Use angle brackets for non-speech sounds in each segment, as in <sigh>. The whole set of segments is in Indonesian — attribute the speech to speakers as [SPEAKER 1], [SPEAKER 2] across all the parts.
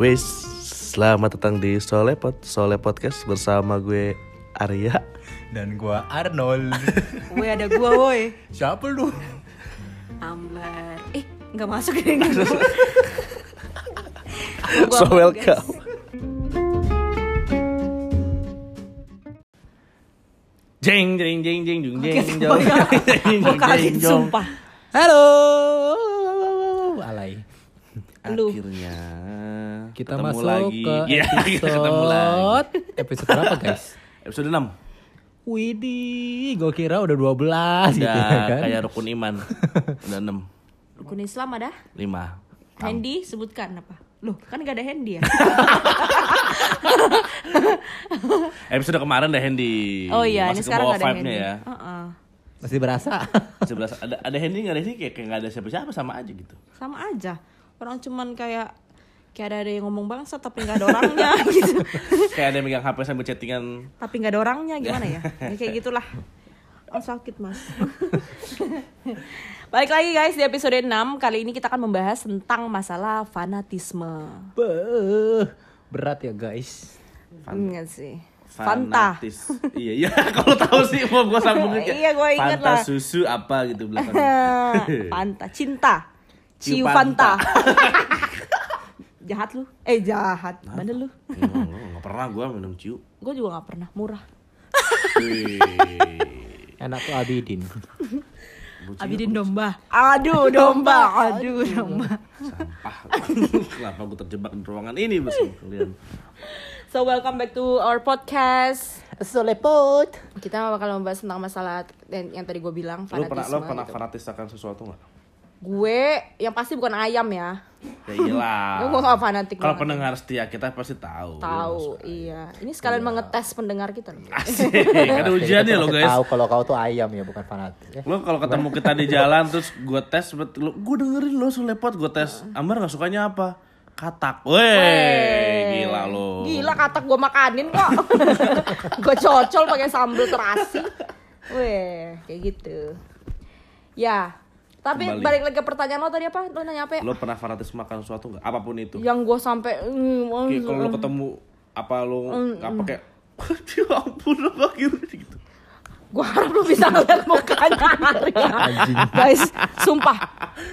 [SPEAKER 1] Wes, selamat datang di Solepot, Sole Podcast bersama gue Arya.
[SPEAKER 2] dan gua <laughs> Arnold.
[SPEAKER 3] Woi ada gua woi.
[SPEAKER 2] Siapa lu?
[SPEAKER 3] Ambar. Eh, nggak masuk ya enggak.
[SPEAKER 1] So welcome. Jeng jeng jeng jeng jeng jeng jeng jong, <laughs> jeng
[SPEAKER 3] Gue kaget
[SPEAKER 1] jong.
[SPEAKER 3] Iya. sumpah.
[SPEAKER 2] Halo. Alay.
[SPEAKER 3] Lu.
[SPEAKER 1] Akhirnya
[SPEAKER 2] Kita
[SPEAKER 1] ketemu
[SPEAKER 2] masuk
[SPEAKER 1] lagi. <laughs>
[SPEAKER 2] ke
[SPEAKER 1] Ya, kita ketemu lagi.
[SPEAKER 2] episode episode berapa guys?
[SPEAKER 1] Episode 6.
[SPEAKER 2] Widih, gua kira udah 12 gitu
[SPEAKER 1] Udah
[SPEAKER 2] ya kan.
[SPEAKER 1] kayak rukun iman. Udah 6.
[SPEAKER 3] Rukun Islam ada?
[SPEAKER 1] 5.
[SPEAKER 3] Handy sebutkan apa? Loh, kan gak ada handy ya?
[SPEAKER 1] Episode kemarin deh Handy.
[SPEAKER 3] Oh iya, ini
[SPEAKER 1] Masih ke
[SPEAKER 3] sekarang
[SPEAKER 1] bawah
[SPEAKER 3] gak ada
[SPEAKER 1] vibe-nya
[SPEAKER 3] handy.
[SPEAKER 1] ya.
[SPEAKER 3] Heeh.
[SPEAKER 2] Masih berasa. <laughs>
[SPEAKER 1] 11 ada ada Hendy nggak ada Hendy kayak kayak nggak ada siapa-siapa sama aja gitu.
[SPEAKER 3] <laughs> Sama aja. Orang cuman kayak kayak ada, ada yang ngomong bangsa tapi nggak ada orangnya <laughs> gitu.
[SPEAKER 1] Kayak ada yang megang HP sambil chattingan.
[SPEAKER 3] tapi nggak ada orangnya gimana
[SPEAKER 1] <laughs>
[SPEAKER 3] ya? Ya, kayak gitulah. Oh sakit mas. <laughs> Balik lagi guys di episode 6 kali ini kita akan membahas tentang masalah fanatisme.
[SPEAKER 2] Beuh, Berat ya guys.
[SPEAKER 3] Enggak sih. Fanta.
[SPEAKER 1] Fanatis. iya iya <laughs> kalau tahu sih mau gue sambungin kayak
[SPEAKER 3] Iya, gua ingat
[SPEAKER 1] Fanta
[SPEAKER 3] lah.
[SPEAKER 1] susu apa gitu belakangnya.
[SPEAKER 3] <laughs>
[SPEAKER 1] <laughs>
[SPEAKER 3] Fanta, cinta. Ciu
[SPEAKER 1] Ciu
[SPEAKER 3] Fanta.
[SPEAKER 1] <laughs>
[SPEAKER 3] jahat lu. Eh jahat. Bandel lu.
[SPEAKER 1] Emang lu nggak pernah gue minum ciu.
[SPEAKER 3] Gue juga gak pernah murah.
[SPEAKER 1] Wih.
[SPEAKER 2] Enak tuh Abidin.
[SPEAKER 1] Bucin
[SPEAKER 3] Abidin domba. Aduh domba. <laughs> Aduh domba.
[SPEAKER 1] sampah. Kenapa gue terjebak di ruangan ini bersama kalian?
[SPEAKER 3] So welcome back to our podcast.
[SPEAKER 2] Solepot.
[SPEAKER 3] Kita bakal membahas tentang masalah yang, yang tadi gue bilang
[SPEAKER 1] Lu pernah
[SPEAKER 3] fanatisme.
[SPEAKER 1] lo pernah
[SPEAKER 3] gitu.
[SPEAKER 1] fanatis akan sesuatu nggak?
[SPEAKER 3] Gue yang pasti bukan ayam ya.
[SPEAKER 1] Ya iyalah.
[SPEAKER 3] Gua nggak fanatik
[SPEAKER 1] Kalau
[SPEAKER 3] banget.
[SPEAKER 1] pendengar setia kita pasti tahu.
[SPEAKER 3] Tahu, iya. Ini sekalian mengetes pendengar kita loh.
[SPEAKER 1] Asik. kan Ada ujiannya lo guys.
[SPEAKER 2] Tahu kalau kau tuh ayam ya, bukan fanatik. Ya.
[SPEAKER 1] lo kalau ketemu kita di jalan terus gue tes bet- lo gue dengerin lo selepot gue tes Amar nggak sukanya apa katak weh gila lo
[SPEAKER 3] Eh. Gila katak gue makanin kok. <laughs> gue cocol pakai sambal terasi. Weh, kayak gitu. Ya, tapi
[SPEAKER 1] Kembali.
[SPEAKER 3] balik lagi ke pertanyaan lo tadi apa? Lo nanya apa ya?
[SPEAKER 1] lo pernah fanatis makan sesuatu nggak apapun itu
[SPEAKER 3] Yang gue sampai mm, mm,
[SPEAKER 1] Kayak kalau lo ketemu apa lo nggak pakai <laughs> ya ampun lo akhirnya gitu
[SPEAKER 3] Gue harap lu bisa ngeliat mukanya Arya Guys, sumpah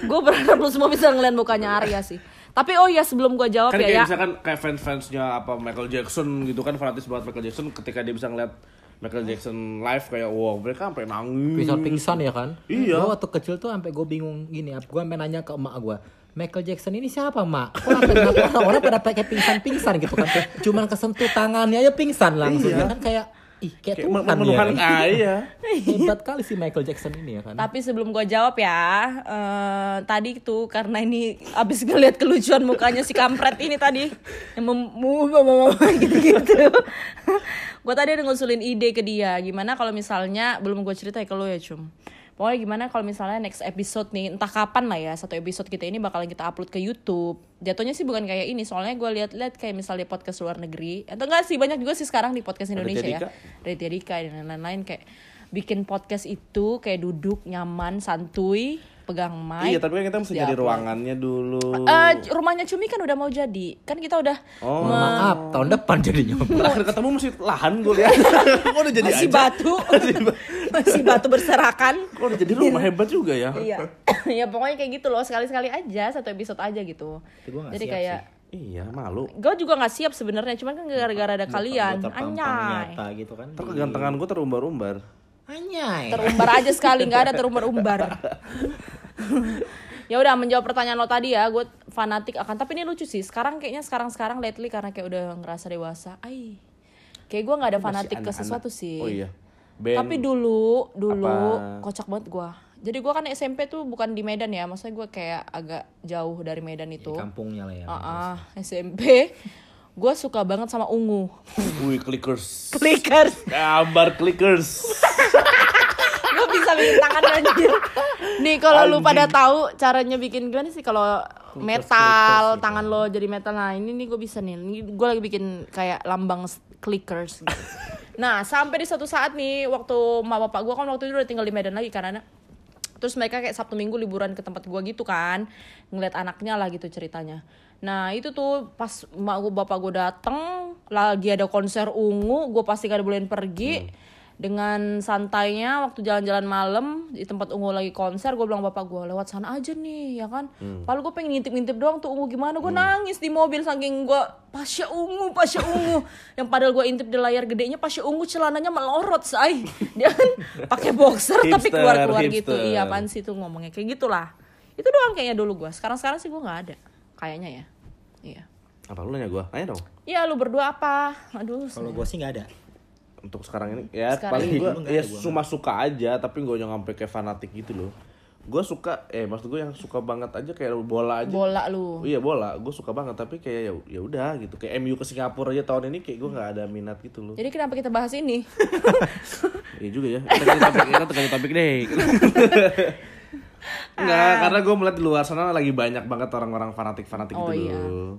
[SPEAKER 3] Gue berharap lu semua bisa ngeliat mukanya Arya sih Tapi oh iya sebelum gue jawab
[SPEAKER 1] kan
[SPEAKER 3] ya
[SPEAKER 1] kayak
[SPEAKER 3] ya
[SPEAKER 1] misalkan kayak fans-fansnya apa Michael Jackson gitu kan fanatis banget Michael Jackson ketika dia bisa ngeliat Michael Jackson live kayak wow mereka sampai nangis
[SPEAKER 2] Bisa pingsan ya kan?
[SPEAKER 1] Iya.
[SPEAKER 2] Gue waktu kecil tuh sampai gue bingung gini, gue sampai nanya ke emak gue, Michael Jackson ini siapa mak? Kok kenapa orang-orang pada pakai pingsan-pingsan gitu kan? Cuman kesentuh tangannya aja pingsan langsung ya
[SPEAKER 1] Iya.
[SPEAKER 2] kan kayak ih kayak,
[SPEAKER 1] kayak
[SPEAKER 2] Tuhan
[SPEAKER 1] men- menuhan
[SPEAKER 2] ya.
[SPEAKER 1] ah, iya
[SPEAKER 2] Hebat kali si Michael Jackson ini ya kan?
[SPEAKER 3] Tapi sebelum gue jawab ya, eh, tadi tuh karena ini abis ngeliat kelucuan mukanya si kampret ini tadi yang mem- mu- mu- mu- mu- gitu-gitu. <laughs> gue tadi ada ngusulin ide ke dia, gimana kalau misalnya belum gue cerita ya ke lo ya cum. Pokoknya gimana kalau misalnya next episode nih, entah kapan lah ya, satu episode kita ini bakalan kita upload ke YouTube. Jatuhnya sih bukan kayak ini, soalnya gue lihat-lihat kayak misalnya podcast luar negeri, atau enggak sih banyak juga sih sekarang di podcast Indonesia
[SPEAKER 1] Dika.
[SPEAKER 3] ya. Raditya Dika dan lain-lain kayak bikin podcast itu kayak duduk nyaman santuy pegang mic.
[SPEAKER 1] Iya, tapi kan kita mesti
[SPEAKER 3] Di
[SPEAKER 1] jadi
[SPEAKER 3] upload.
[SPEAKER 1] ruangannya dulu.
[SPEAKER 3] Eh, rumahnya Cumi kan udah mau jadi kan kita udah
[SPEAKER 1] oh,
[SPEAKER 2] Mohon maaf tahun depan jadinya.
[SPEAKER 1] terakhir ketemu mesti lahan gue
[SPEAKER 3] <laughs>
[SPEAKER 1] lihat. Kok udah jadi
[SPEAKER 3] masih
[SPEAKER 1] aja? <laughs>
[SPEAKER 3] batu <laughs> masih batu berserakan
[SPEAKER 1] Kok udah jadi rumah hebat juga ya?
[SPEAKER 3] iya <laughs> ya pokoknya kayak gitu loh sekali sekali aja satu episode aja gitu
[SPEAKER 2] Tapi gua nggak
[SPEAKER 3] jadi
[SPEAKER 2] siap
[SPEAKER 3] kayak
[SPEAKER 1] Iya, malu.
[SPEAKER 3] gue juga nggak siap sebenarnya cuman kan gara-gara ada kalian anyai
[SPEAKER 2] gitu kan?
[SPEAKER 1] Ntar kegantengan gue terumbar-umbar.
[SPEAKER 2] Anyai.
[SPEAKER 3] terumbar aja sekali nggak ada terumbar-umbar ya udah menjawab pertanyaan lo tadi ya gue fanatik akan tapi ini lucu sih sekarang kayaknya sekarang sekarang lately karena kayak udah ngerasa dewasa ay kayak gue nggak ada fanatik ke sesuatu sih
[SPEAKER 1] Oh iya. Band.
[SPEAKER 3] tapi dulu dulu kocak banget gue jadi gue kan SMP tuh bukan di Medan ya maksudnya gue kayak agak jauh dari Medan
[SPEAKER 1] Iya,
[SPEAKER 3] itu
[SPEAKER 2] Kampungnya lah ya.
[SPEAKER 3] ah ah, SMP gue suka banget sama ungu
[SPEAKER 1] Wih, clickers.
[SPEAKER 3] clickers
[SPEAKER 1] Kabar clickers.
[SPEAKER 3] Lu bisa bikin tangan anjir. Nih kalau lu pada tahu caranya bikin gimana sih kalau metal tangan lo jadi metal. Nah, ini nih gue bisa nih. Ini gue lagi bikin kayak lambang s- clickers. gitu. nah, sampai di suatu saat nih waktu ma bapak gue kan waktu itu udah tinggal di Medan lagi karena terus mereka kayak Sabtu Minggu liburan ke tempat gua gitu kan ngeliat anaknya lah gitu ceritanya nah itu tuh pas mak gua bapak gua dateng lagi ada konser ungu gua pasti gak bolehin pergi dengan santainya waktu jalan-jalan malam di tempat ungu lagi konser gue bilang bapak gue lewat sana aja nih ya kan Padahal gue pengen ngintip-ngintip doang tuh ungu gimana gue nangis di mobil saking gue pasya ungu pasya ungu yang padahal gue intip di layar gedenya pasya ungu celananya melorot say <laughs> dia kan pakai boxer tapi
[SPEAKER 1] Hipster,
[SPEAKER 3] keluar-keluar gitu
[SPEAKER 1] hipster.
[SPEAKER 3] iya apaan sih tuh ngomongnya kayak gitulah itu doang kayaknya dulu gue sekarang-sekarang sih gue nggak ada kayaknya ya iya
[SPEAKER 1] Apa lu nanya gua? Tanya dong.
[SPEAKER 3] Iya lu berdua apa? Aduh,
[SPEAKER 2] Kalau gue sih nggak ada.
[SPEAKER 1] Untuk sekarang ini ya
[SPEAKER 3] Sekarang
[SPEAKER 1] paling
[SPEAKER 2] ini.
[SPEAKER 1] gua
[SPEAKER 2] Dulu nggak
[SPEAKER 1] ya
[SPEAKER 2] ada gua.
[SPEAKER 1] cuma suka aja tapi gua jangan sampai kayak fanatik gitu loh. Gua suka eh maksud gua yang suka banget aja kayak bola aja.
[SPEAKER 3] bola lu.
[SPEAKER 1] Iya bola, gue suka banget tapi kayak ya ya udah gitu. Kayak MU ke Singapura aja tahun ini kayak gue nggak ada minat gitu loh.
[SPEAKER 3] Jadi kenapa kita bahas ini?
[SPEAKER 1] Iya juga ya. Kita ganti topik, kita ganti topik <laughs> deh. Enggak,
[SPEAKER 2] Ah.
[SPEAKER 1] karena gue melihat di luar sana lagi banyak banget orang-orang fanatik-fanatik
[SPEAKER 3] Oh,
[SPEAKER 1] gitu
[SPEAKER 3] iya.
[SPEAKER 1] loh.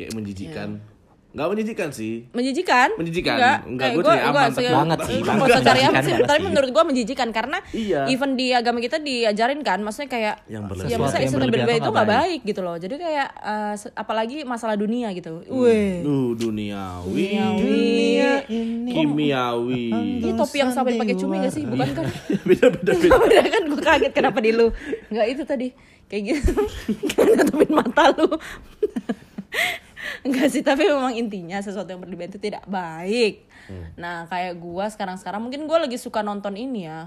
[SPEAKER 1] Kayak menjijikan.
[SPEAKER 2] Iya.
[SPEAKER 1] Enggak menjijikan sih.
[SPEAKER 3] Menjijikan?
[SPEAKER 1] Menjijikan. Enggak,
[SPEAKER 3] Eh,
[SPEAKER 1] gua
[SPEAKER 3] gua- gua
[SPEAKER 1] cari aman, tapi-
[SPEAKER 3] serius.
[SPEAKER 2] Banget sih,
[SPEAKER 3] Gua
[SPEAKER 2] banget.
[SPEAKER 3] nggak usah cari aman sih,
[SPEAKER 2] Menjijikan
[SPEAKER 3] tapi
[SPEAKER 2] banget
[SPEAKER 3] menurut gua menjijikan karena
[SPEAKER 1] Iya.
[SPEAKER 3] even di agama kita diajarin kan, maksudnya kayak
[SPEAKER 1] Yang
[SPEAKER 3] ya
[SPEAKER 1] berlebihan.
[SPEAKER 3] masa
[SPEAKER 2] Sesuatu yang berlebihan tuh
[SPEAKER 3] berlebihan itu
[SPEAKER 2] nggak
[SPEAKER 3] nggak baik gitu loh. Jadi kayak eh, se- apalagi masalah dunia gitu.
[SPEAKER 2] Hmm.
[SPEAKER 3] Weh.
[SPEAKER 1] Duh, duniawi.
[SPEAKER 3] Duniawi. Oh,
[SPEAKER 1] Kimiawi.
[SPEAKER 3] Ini topi yang sampai pakai cumi gak sih? Bukan kan?
[SPEAKER 2] Iya.
[SPEAKER 1] Beda-beda beda.
[SPEAKER 3] Udah kan gue kaget kenapa di lu Enggak itu tadi Kayak gitu <laughs> Karena nutupin mata lu Enggak sih tapi memang intinya Sesuatu yang berlebihan itu tidak baik
[SPEAKER 1] Hmm.
[SPEAKER 3] Nah kayak gua sekarang-sekarang Mungkin gua lagi suka nonton ini ya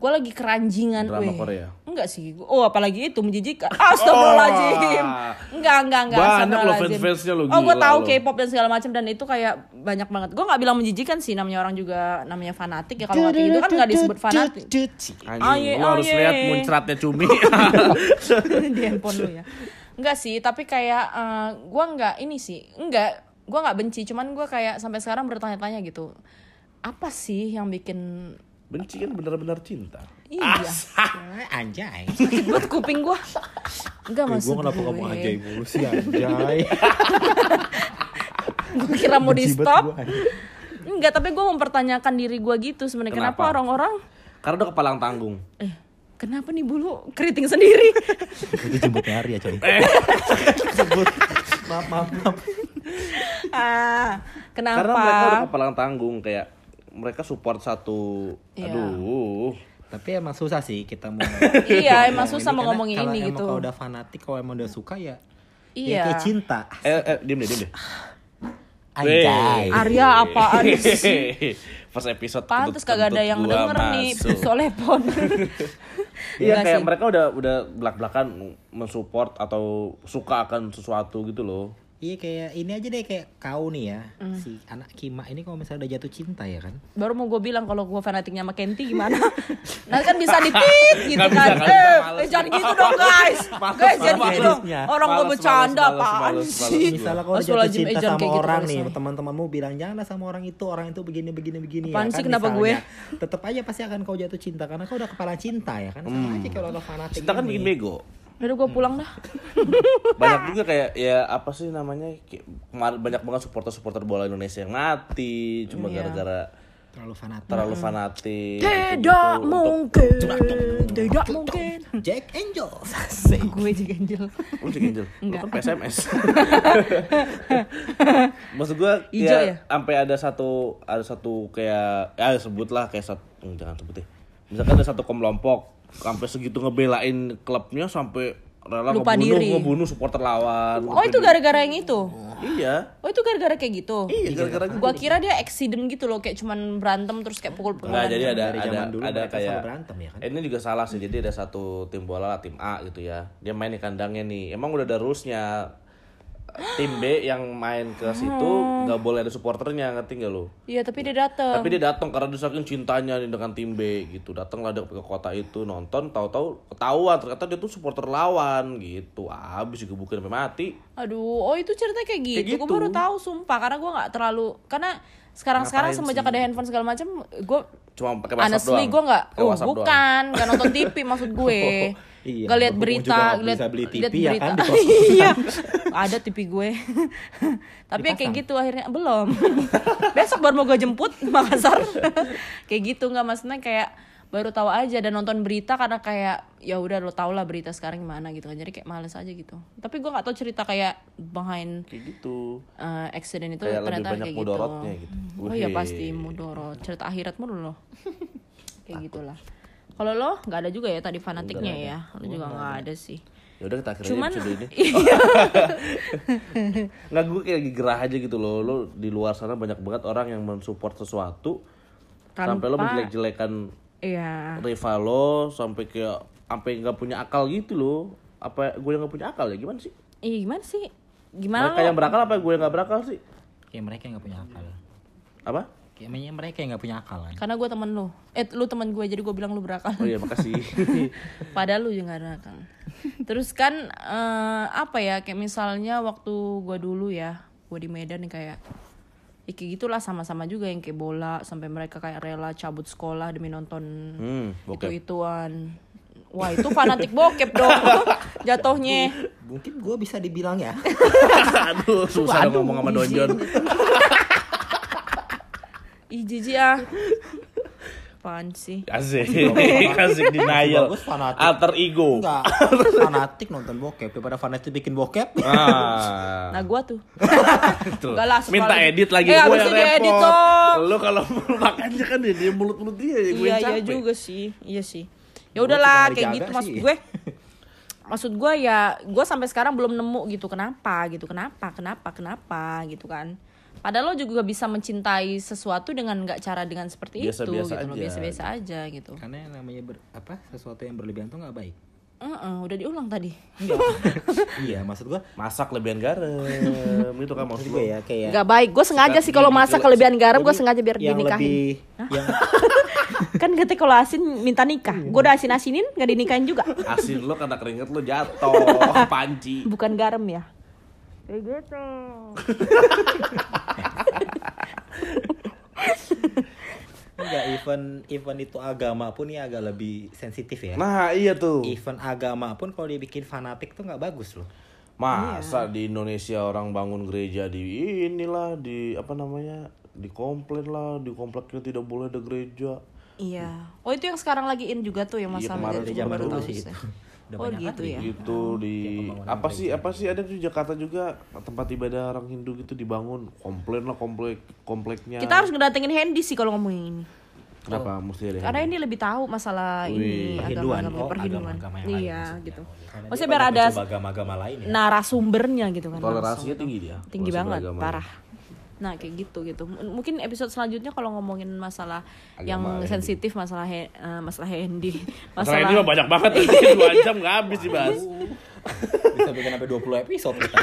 [SPEAKER 3] Gua lagi keranjingan
[SPEAKER 1] Drama
[SPEAKER 3] weh.
[SPEAKER 1] Korea?
[SPEAKER 3] Enggak sih Gua- Oh apalagi itu menjijikan Astagfirullahaladzim
[SPEAKER 1] Oh.
[SPEAKER 3] Enggak enggak enggak
[SPEAKER 1] Banyak
[SPEAKER 3] astagfirullahalazim.
[SPEAKER 1] lo fans-fansnya lo,
[SPEAKER 3] Oh gua
[SPEAKER 1] gila
[SPEAKER 3] tahu
[SPEAKER 1] lo.
[SPEAKER 3] K-pop dan segala macam Dan itu kayak banyak banget Gua nggak bilang menjijikan sih Namanya orang juga namanya fanatik ya Kalau waktu itu kan nggak disebut fanatik Aye,
[SPEAKER 1] Anjing, lu harus
[SPEAKER 3] aye.
[SPEAKER 1] lihat muncratnya cumi.
[SPEAKER 3] <laughs> di handphone lu ya Enggak sih tapi kayak eh, gua nggak ini sih enggak gua nggak benci cuman gua kayak sampai sekarang bertanya-tanya gitu apa sih yang bikin
[SPEAKER 1] <laughs> Benci kan benar-benar cinta.
[SPEAKER 3] iya
[SPEAKER 2] Anjay.
[SPEAKER 3] sakit buat kuping gua enggak maksud
[SPEAKER 4] gue Eh, kenapa
[SPEAKER 3] gue.
[SPEAKER 4] ngomong anjay mulu sih anjay
[SPEAKER 3] Gua kira <laughs> mau di
[SPEAKER 4] Benci banget
[SPEAKER 3] stop
[SPEAKER 4] gua, anjay.
[SPEAKER 3] enggak tapi gua mempertanyakan diri gua gitu sebenarnya kenapa
[SPEAKER 1] Kenapa?
[SPEAKER 3] orang-orang
[SPEAKER 1] Karena udah kepalang tanggung.
[SPEAKER 3] eh kenapa nih bulu keriting sendiri
[SPEAKER 4] itu jemput nyari ya coy jemput maaf maaf maaf
[SPEAKER 3] <laughs> ah kenapa
[SPEAKER 1] Karena mereka udah kepalang tanggung kayak mereka support satu
[SPEAKER 3] Iya.
[SPEAKER 1] aduh
[SPEAKER 2] Tapi emang susah sih kita mau. Nah,
[SPEAKER 3] Iya, emang susah
[SPEAKER 4] kan
[SPEAKER 3] mau
[SPEAKER 2] karena
[SPEAKER 3] ngomongin
[SPEAKER 2] kalau
[SPEAKER 3] ini
[SPEAKER 2] emang
[SPEAKER 3] gitu.
[SPEAKER 2] Kalau udah fanatik, kalau emang udah suka ya.
[SPEAKER 3] Iya.
[SPEAKER 2] Ya kayak cinta.
[SPEAKER 1] eh eh diem deh diem deh
[SPEAKER 2] Anjay.
[SPEAKER 3] Arya
[SPEAKER 1] <laughs>
[SPEAKER 3] apaan sih
[SPEAKER 1] pas episode
[SPEAKER 3] Pantes
[SPEAKER 1] kentut-
[SPEAKER 3] kagak ada
[SPEAKER 1] kentut
[SPEAKER 3] yang
[SPEAKER 1] gua
[SPEAKER 3] denger nih <laughs>
[SPEAKER 1] masuk.
[SPEAKER 3] Solepon
[SPEAKER 1] <laughs> iya
[SPEAKER 3] Enggak
[SPEAKER 1] kayak
[SPEAKER 3] sih.
[SPEAKER 1] mereka udah udah belak belakan mensupport atau suka akan sesuatu gitu loh
[SPEAKER 2] Iya kayak ini aja deh kayak kau nih ya.
[SPEAKER 3] Hmm.
[SPEAKER 2] Si anak Kima ini kalau misalnya udah jatuh cinta ya kan.
[SPEAKER 3] baru mau gue bilang kalau gue fanatiknya sama Kenti gimana <laughs> nanti kan bisa ditit gitu
[SPEAKER 1] Nggak bisa,
[SPEAKER 3] kan
[SPEAKER 1] nggak bisa,
[SPEAKER 3] eh,
[SPEAKER 1] males.
[SPEAKER 3] eh, jangan gitu dong guys guys jangan
[SPEAKER 1] <laughs> males,
[SPEAKER 3] gitu dong
[SPEAKER 2] males.
[SPEAKER 3] orang gue
[SPEAKER 1] Males,
[SPEAKER 3] bercanda
[SPEAKER 1] males,
[SPEAKER 3] apaan
[SPEAKER 1] males, males,
[SPEAKER 3] sih
[SPEAKER 1] males.
[SPEAKER 2] Misalnya kalau udah jatuh
[SPEAKER 3] Astagfirullahaladzim, eh,
[SPEAKER 2] cinta
[SPEAKER 3] jangan
[SPEAKER 2] sama
[SPEAKER 3] kayak gitu
[SPEAKER 2] orang
[SPEAKER 3] kalau
[SPEAKER 2] nih,
[SPEAKER 3] misalnya.
[SPEAKER 2] teman-temanmu bilang janganlah sama orang itu, orang itu begini begini begini
[SPEAKER 3] Apaan
[SPEAKER 2] ya
[SPEAKER 3] sih,
[SPEAKER 2] kan,
[SPEAKER 3] kenapa
[SPEAKER 2] misalnya. Tetap aja pasti akan kau jatuh cinta karena kau udah kepala cinta ya kan. Sama aja kalau lo fanatik.
[SPEAKER 1] cinta kan
[SPEAKER 2] ini.
[SPEAKER 1] bikin
[SPEAKER 3] <laughs>
[SPEAKER 1] bego
[SPEAKER 3] Aduh gue pulang dah
[SPEAKER 1] banyak juga kayak ya apa sih namanya kayak kemar- banyak banget supporter supporter bola Indonesia yang mati cuma
[SPEAKER 3] Iya.
[SPEAKER 1] gara-gara
[SPEAKER 2] terlalu fanatik.
[SPEAKER 1] terlalu fanatik
[SPEAKER 3] Tidak
[SPEAKER 1] gitu-gitu. Untuk-
[SPEAKER 3] mungkin Tidak mungkin
[SPEAKER 2] Jack Angels.
[SPEAKER 3] Gue juga Angel
[SPEAKER 1] Lu cek Angel, lu kan
[SPEAKER 3] <laughs>
[SPEAKER 1] PSMS Maksud gue
[SPEAKER 3] Ijo ya?
[SPEAKER 1] ya, sampai ada satu ada satu kayak ya sebutlah kayak satu hmm, jangan sebut deh. Misalkan ada satu kelompok sampai segitu ngebelain klubnya sampai rela
[SPEAKER 3] Lupa
[SPEAKER 1] ngebunuh
[SPEAKER 3] diri.
[SPEAKER 1] ngebunuh supporter lawan.
[SPEAKER 3] Oh itu gara-gara yang itu
[SPEAKER 1] Iya.
[SPEAKER 3] Oh itu gara-gara kayak gitu
[SPEAKER 1] Iya gara-gara gitu.
[SPEAKER 3] Gue kira dia accident gitu loh Kayak cuman berantem terus kayak
[SPEAKER 1] Enggak
[SPEAKER 3] pukul-pukulan
[SPEAKER 1] jadi ada
[SPEAKER 2] Dari
[SPEAKER 1] ada
[SPEAKER 2] zaman dulu
[SPEAKER 1] ada
[SPEAKER 2] mereka
[SPEAKER 1] kayak
[SPEAKER 2] selalu berantem ya kan?
[SPEAKER 1] Eh, Ini juga salah sih. Jadi ada satu tim bola lah tim A gitu ya. Dia main di kandangnya nih. Emang udah ada rulesnya tim B yang main ke situ
[SPEAKER 2] Hmm.
[SPEAKER 1] nggak boleh ada supporternya ngerti nggak lo?
[SPEAKER 3] Iya tapi
[SPEAKER 2] Eh.
[SPEAKER 3] dia dateng
[SPEAKER 1] Tapi dia datang karena dia saking cintanya nih dengan tim B gitu. Datanglah dia ke kota itu nonton, tahu-tahu ketahuan ternyata dia tuh supporter lawan gitu. Abis digebukin sampai mati.
[SPEAKER 3] Aduh, oh itu ceritanya kayak gitu. Gue
[SPEAKER 1] gitu.
[SPEAKER 3] baru tahu sumpah karena gue nggak terlalu karena sekarang-sekarang
[SPEAKER 1] Ngapain
[SPEAKER 3] semenjak
[SPEAKER 1] sih?
[SPEAKER 3] ada handphone segala macam, gue
[SPEAKER 1] Cuma pakai WhatsApp doang.
[SPEAKER 3] honestly gue nggak,
[SPEAKER 1] Pakai
[SPEAKER 3] oh
[SPEAKER 1] WhatsApp doang.
[SPEAKER 3] bukan, nggak nonton TV
[SPEAKER 2] <laughs>
[SPEAKER 3] maksud gue.
[SPEAKER 2] Iya,
[SPEAKER 3] Gak lihat
[SPEAKER 2] berhubung
[SPEAKER 3] berita,
[SPEAKER 2] juga nggak
[SPEAKER 3] lihat
[SPEAKER 2] bisa beli
[SPEAKER 3] lihat
[SPEAKER 2] TV ya
[SPEAKER 3] berita. <laughs>
[SPEAKER 2] kan, di kos-kosan. <laughs>
[SPEAKER 3] Iya, ada TV gue. <laughs> Tapi ya kayak gitu akhirnya <laughs> belum. Besok baru mau gue jemput Makassar. kayak gitu nggak maksudnya kayak baru tahu aja dan nonton berita karena kayak ya udah lo tau lah berita sekarang gimana gitu kan jadi kayak males aja gitu tapi gua nggak tahu cerita kayak behind
[SPEAKER 1] kayak gitu
[SPEAKER 3] eh, accident itu
[SPEAKER 1] Kayak lebih
[SPEAKER 3] ternyata
[SPEAKER 1] banyak
[SPEAKER 3] kayak
[SPEAKER 1] mudorotnya
[SPEAKER 3] gitu.
[SPEAKER 1] gitu.
[SPEAKER 3] Oh iya
[SPEAKER 1] Wih.
[SPEAKER 3] pasti mudorot. Cerita akhirat mulu
[SPEAKER 1] <laughs>
[SPEAKER 3] loh. kayak gitulah. Kalau lo nggak ada juga ya tadi fanatiknya ya. Lo juga nggak ada sih.
[SPEAKER 1] ya udah kita akhirin aja
[SPEAKER 3] Cuman
[SPEAKER 1] episode
[SPEAKER 3] <laughs>
[SPEAKER 1] ini
[SPEAKER 3] iya.
[SPEAKER 1] nggak gue kayak lagi gerah aja gitu loh lo di luar sana banyak banget orang yang mensupport sesuatu sampai lo
[SPEAKER 3] Tanpa-
[SPEAKER 1] menjelek-jelekan
[SPEAKER 3] Iya.
[SPEAKER 1] rival lo sampai kayak sampai nggak punya akal gitu loh apa gue yang nggak punya akal ya gimana sih
[SPEAKER 3] Iya gimana sih? Gimana lo?
[SPEAKER 1] mereka yang berakal apa gue yang nggak berakal sih
[SPEAKER 2] Kayak mereka yang nggak punya akal.
[SPEAKER 1] apa
[SPEAKER 2] Kayaknya mereka yang nggak punya akal kan.
[SPEAKER 3] Karena gue temen lo. Eh lu temen gue jadi gue bilang lu berakal.
[SPEAKER 1] oh iya makasih
[SPEAKER 3] Padahal lu juga ada kan. Terus kan eh, apa ya kayak misalnya waktu gua dulu ya, gua di Medan nih kayak ya kayak gitulah sama-sama juga yang kayak bola sampai mereka kayak rela cabut sekolah demi nonton
[SPEAKER 1] hmm
[SPEAKER 3] itu
[SPEAKER 1] bokep
[SPEAKER 3] ituan. Wah itu fanatik bokep dong jatuhnya.
[SPEAKER 2] Mungkin gue bisa dibilang ya.
[SPEAKER 1] aduh susah dong ngomong sama donjon
[SPEAKER 3] Ih jijik ah. Apaan sih?
[SPEAKER 1] asik <laughs> asik denial
[SPEAKER 2] Bagus, fanatik.
[SPEAKER 1] alter ego
[SPEAKER 2] Enggak. fanatik nonton bokep daripada fanatik bikin bokep.
[SPEAKER 1] ah
[SPEAKER 3] Nah gua tuh
[SPEAKER 1] Betul.
[SPEAKER 3] Enggak lah, sekolah
[SPEAKER 1] Gitu. Minta
[SPEAKER 3] lagi.
[SPEAKER 1] edit lagi
[SPEAKER 3] Eh,
[SPEAKER 1] gue
[SPEAKER 3] habis
[SPEAKER 1] yang
[SPEAKER 3] itu diedit
[SPEAKER 1] repot.
[SPEAKER 3] dong.
[SPEAKER 1] Lu kalau mau makannya kan dia dia mulut-mulut dia ya gue
[SPEAKER 3] Iya
[SPEAKER 1] yang
[SPEAKER 3] iya
[SPEAKER 1] capek.
[SPEAKER 3] juga sih, iya sih. Ya
[SPEAKER 2] Gua
[SPEAKER 3] udahlah
[SPEAKER 2] cuma
[SPEAKER 3] kayak
[SPEAKER 2] dijaga
[SPEAKER 3] gitu maksud
[SPEAKER 2] sih. <laughs>
[SPEAKER 3] gue. Maksud gue ya, gue sampai sekarang belum nemu gitu kenapa gitu, kenapa, kenapa, kenapa gitu kan. Padahal lo juga bisa mencintai sesuatu dengan nggak cara dengan seperti
[SPEAKER 1] Biasa-biasa
[SPEAKER 3] itu gitu, loh,
[SPEAKER 1] aja.
[SPEAKER 3] biasa-biasa aja gitu.
[SPEAKER 2] Karena yang namanya ber- apa sesuatu yang berlebihan tuh nggak baik.
[SPEAKER 3] Heeh, udah diulang tadi.
[SPEAKER 2] iya, maksud gue
[SPEAKER 1] Masak lebihan garam itu kan
[SPEAKER 2] maksud
[SPEAKER 1] maksud gue
[SPEAKER 2] gue ya kayak
[SPEAKER 3] Nggak baik, gue sengaja sih kalau masak kelebihan garam, gue
[SPEAKER 2] Jadi,
[SPEAKER 3] sengaja biar
[SPEAKER 2] yang
[SPEAKER 3] dinikahin.
[SPEAKER 2] lebih yang
[SPEAKER 3] <laughs>
[SPEAKER 2] <laughs>
[SPEAKER 3] Kan ketika kalau asin minta nikah,
[SPEAKER 2] Iya.
[SPEAKER 3] gue udah asin asinin nggak dinikahin juga, <clears throat>
[SPEAKER 1] Asin lo karena keringet lo jatuh <laughs> panci.
[SPEAKER 3] bukan garam ya. Kayak gitu.
[SPEAKER 2] enggak event event itu agama pun ya agak lebih sensitif ya.
[SPEAKER 1] Nah iya tuh.
[SPEAKER 2] Event agama pun kalau dibikin fanatik tuh nggak bagus loh.
[SPEAKER 1] Masa di Indonesia orang bangun gereja di inilah di apa namanya di komplain lah di kompleknya tidak boleh ada gereja.
[SPEAKER 3] Iya. Oh itu yang sekarang lagi in juga tuh yang
[SPEAKER 1] Iya,
[SPEAKER 3] masalah
[SPEAKER 1] kemarin
[SPEAKER 3] dari
[SPEAKER 1] tuh
[SPEAKER 3] zaman
[SPEAKER 1] baru
[SPEAKER 3] dulu
[SPEAKER 1] tuh
[SPEAKER 2] sih
[SPEAKER 3] sih.
[SPEAKER 2] itu. <laughs> Udah
[SPEAKER 3] Oh
[SPEAKER 2] banyak Iya.
[SPEAKER 3] gitu ya.
[SPEAKER 1] Gitu di apa sih apa sih ada di Jakarta juga tempat ibadah orang Hindu gitu dibangun komplain lah komplek kompleknya.
[SPEAKER 3] Kita harus ngedatengin Hendy sih kalau ngomongin ini.
[SPEAKER 1] Kenapa mesti ada?
[SPEAKER 2] Iya.
[SPEAKER 3] Karena Hendy lebih tahu masalah ini agama
[SPEAKER 2] Perhinduan,
[SPEAKER 3] agama
[SPEAKER 2] oh,
[SPEAKER 3] perhinduan.
[SPEAKER 2] agama-agama yang lain
[SPEAKER 3] Iya
[SPEAKER 2] maksudnya.
[SPEAKER 3] gitu.
[SPEAKER 2] Karena
[SPEAKER 3] Maksudnya
[SPEAKER 2] dia
[SPEAKER 3] biar
[SPEAKER 2] banyak
[SPEAKER 3] ada Nah.
[SPEAKER 2] mencoba agama-agama lain ya.
[SPEAKER 3] narasumbernya gitu kan.
[SPEAKER 1] Toleransinya
[SPEAKER 3] langsung.
[SPEAKER 1] tinggi dia.
[SPEAKER 3] Tinggi
[SPEAKER 1] toleransi
[SPEAKER 3] banget,
[SPEAKER 1] beragama.
[SPEAKER 3] parah. Nah kayak gitu gitu. M- Mungkin episode selanjutnya kalau ngomongin masalah
[SPEAKER 1] Agama
[SPEAKER 3] yang
[SPEAKER 1] Hendy.
[SPEAKER 3] sensitif masalah he, eh, masalah Hendy,
[SPEAKER 1] Masalah ini mah banyak banget tadi 2 jam nggak habis dibahas.
[SPEAKER 2] Bisa bikin sampai 20 episode
[SPEAKER 3] <laughs>
[SPEAKER 2] kita.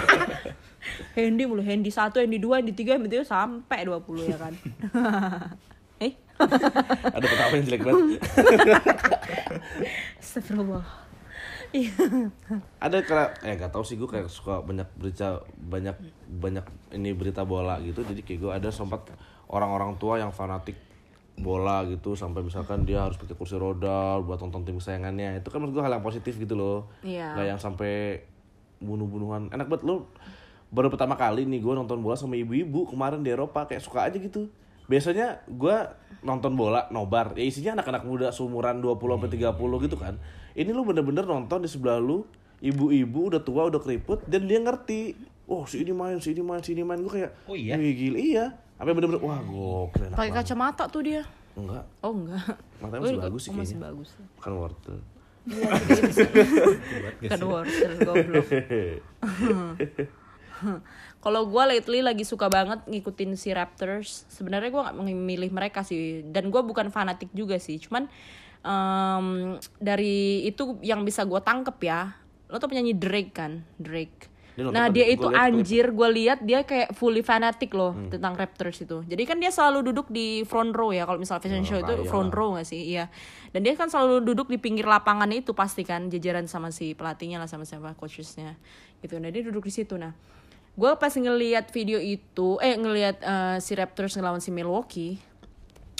[SPEAKER 3] Handy mulu, Handy satu, Handy dua, Handy tiga, Handy tiga sampai 20 ya <laughs> kan. eh,
[SPEAKER 1] <laughs> Ada ketawa yang jelek
[SPEAKER 3] <laughs>
[SPEAKER 1] banget.
[SPEAKER 3] astagfirullah. Iya.
[SPEAKER 1] Ada kera eh gak tau sih gue kayak suka banyak berita banyak banyak ini berita bola gitu. Jadi kayak gue ada sempat orang-orang tua yang fanatik bola gitu sampai misalkan dia harus pakai kursi roda buat nonton tim kesayangannya. Itu kan menurut gue hal yang positif gitu loh.
[SPEAKER 3] Iya.
[SPEAKER 1] Nggak yang sampai bunuh-bunuhan. Enak banget lo baru pertama kali nih gue nonton bola sama ibu-ibu kemarin di Eropa kayak suka aja gitu. Biasanya gue nonton bola nobar, ya isinya anak-anak muda seumuran 20
[SPEAKER 2] Iya.
[SPEAKER 1] sampai 30 gitu kan. Ini lu bener-bener nonton di sebelah lu ibu-ibu udah tua udah keriput dan dia ngerti. Oh, si ini main, si ini main, si ini main. Gue kayak,
[SPEAKER 2] Oh iya?
[SPEAKER 1] "Wih, gila, iya. Sampai bener-bener, wah gokil enak
[SPEAKER 3] Pakai
[SPEAKER 1] banget.
[SPEAKER 3] kacamata tuh dia.
[SPEAKER 1] Enggak,
[SPEAKER 3] Oh enggak.
[SPEAKER 1] matanya
[SPEAKER 3] Oh,
[SPEAKER 1] masih
[SPEAKER 3] enggak.
[SPEAKER 1] bagus sih
[SPEAKER 3] Oh, masih
[SPEAKER 1] kayaknya.
[SPEAKER 3] bagus.
[SPEAKER 1] Bukan wortel.
[SPEAKER 3] Kan wortel
[SPEAKER 1] <laughs>
[SPEAKER 3] goblok. Kalau gue lately lagi suka banget ngikutin si Raptors. Sebenarnya gue nggak memilih mereka sih, dan gue bukan fanatik juga sih. Cuman em, dari itu yang bisa gue tangkep ya, lo tuh penyanyi Drake kan, Drake.
[SPEAKER 1] Dia nonton
[SPEAKER 3] nah
[SPEAKER 1] tadi,
[SPEAKER 3] dia
[SPEAKER 1] gua
[SPEAKER 3] itu
[SPEAKER 1] liat klip.
[SPEAKER 3] anjir, gue lihat dia kayak fully fanatik loh tentang Raptors itu. Jadi kan dia selalu duduk di front row ya, kalau misal fashion show itu front row gak sih? Iya. Dan dia kan selalu duduk di pinggir lapangan itu pasti kan jajaran sama si pelatihnya lah sama siapa coachesnya gitu. Nah dia duduk di situ nah gue pas ngelihat video itu eh ngelihat eh, si Raptors ngelawan si Milwaukee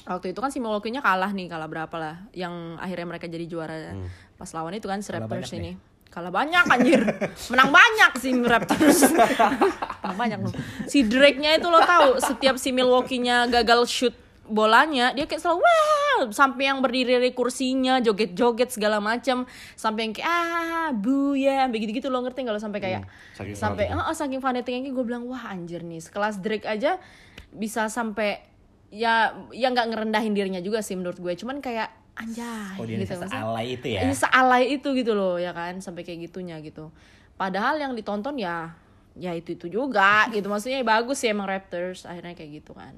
[SPEAKER 3] waktu itu kan si Milwaukee-nya kalah nih kalah berapa lah yang akhirnya mereka jadi juara pas lawan itu kan si Raptors ini kalah banyak anjir menang banyak si Raptors menang banyak loh si Drake-nya itu lo tahu setiap si Milwaukee-nya gagal shoot bolanya dia kayak selalu wow sampai yang berdiri dari kursinya, joget-joget segala macam, sampai yang kayak ah bu ya, begitu gitu lo ngerti nggak lo sampai kayak
[SPEAKER 1] Hmm, saking
[SPEAKER 3] sampai
[SPEAKER 1] fanatiknya.
[SPEAKER 3] oh, saking fanatiknya gue bilang wah anjir nih, sekelas Drake aja bisa sampai ya ya nggak ngerendahin dirinya juga sih menurut gue, cuman kayak anjay
[SPEAKER 1] Oh,
[SPEAKER 4] Audiens
[SPEAKER 3] gitu Iya, maksudnya. Iya,
[SPEAKER 4] alay itu
[SPEAKER 1] Iya.
[SPEAKER 4] ya.
[SPEAKER 3] Ini sealai itu gitu loh ya kan sampai kayak gitunya gitu. Padahal yang ditonton ya ya itu itu juga gitu maksudnya ya bagus sih emang Raptors akhirnya kayak gitu kan.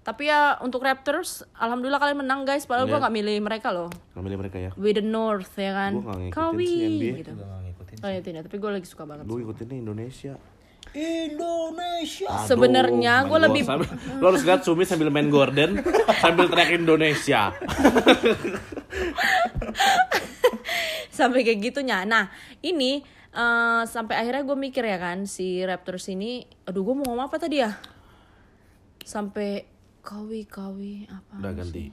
[SPEAKER 3] Tapi ya untuk Raptors alhamdulillah kalian menang guys padahal gua
[SPEAKER 1] Iya.
[SPEAKER 3] nggak milih mereka loh.
[SPEAKER 1] Nggak milih mereka ya.
[SPEAKER 3] We the North ya kan.
[SPEAKER 1] Gua nggak ngikutin sih NBA.
[SPEAKER 3] Kawi gitu.
[SPEAKER 4] Gua nggak ngikutin.
[SPEAKER 3] Oh ya tidak, tapi gue lagi suka banget.
[SPEAKER 1] Lu ngikutinnya Indonesia.
[SPEAKER 4] Indonesia.
[SPEAKER 1] Aduh,
[SPEAKER 3] Sebenarnya
[SPEAKER 1] main
[SPEAKER 3] gua lebih-
[SPEAKER 1] sambil- Lu harus lihat Sumi sambil main gorden <laughs> sambil teriak Indonesia.
[SPEAKER 3] sampai kayak gitunya. Nah, ini eh, sampai akhirnya gue mikir ya kan si Raptors ini, aduh gue mau ngomong apa tadi ya? Sampai kawi kawi apa?
[SPEAKER 1] Udah
[SPEAKER 3] <laughs>
[SPEAKER 1] ganti.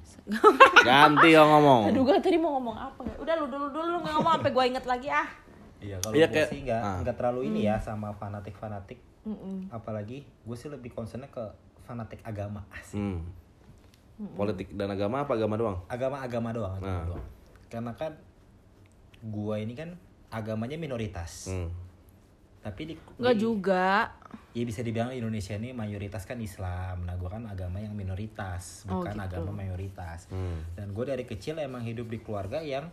[SPEAKER 1] Ganti yang ngomong.
[SPEAKER 3] Aduh gue tadi mau ngomong apa ya? Udah lu dulu dulu lu ngomong apa gue inget lagi ah.
[SPEAKER 4] Iya kalau
[SPEAKER 1] Iya,
[SPEAKER 4] gue
[SPEAKER 1] kayak-
[SPEAKER 4] sih nggak
[SPEAKER 1] ah.
[SPEAKER 4] nggak terlalu ini
[SPEAKER 3] Hmm.
[SPEAKER 4] ya sama fanatik fanatik. Apalagi gue sih lebih concernnya ke fanatik agama asik.
[SPEAKER 1] Hmm. Politik dan agama apa agama doang?
[SPEAKER 4] Agama-agama doang, agama
[SPEAKER 1] Nah.
[SPEAKER 4] doang. Karena kan gue ini kan agamanya minoritas.
[SPEAKER 1] Hmm.
[SPEAKER 4] Tapi di,
[SPEAKER 3] Enggak
[SPEAKER 4] di-
[SPEAKER 3] juga.
[SPEAKER 4] ya bisa dibilang Indonesia ini mayoritas kan Islam. Nah gue kan agama yang minoritas,
[SPEAKER 3] Oh,
[SPEAKER 4] bukan
[SPEAKER 3] gitu.
[SPEAKER 4] agama mayoritas.
[SPEAKER 1] Hmm.
[SPEAKER 4] Dan gue dari kecil emang hidup di keluarga yang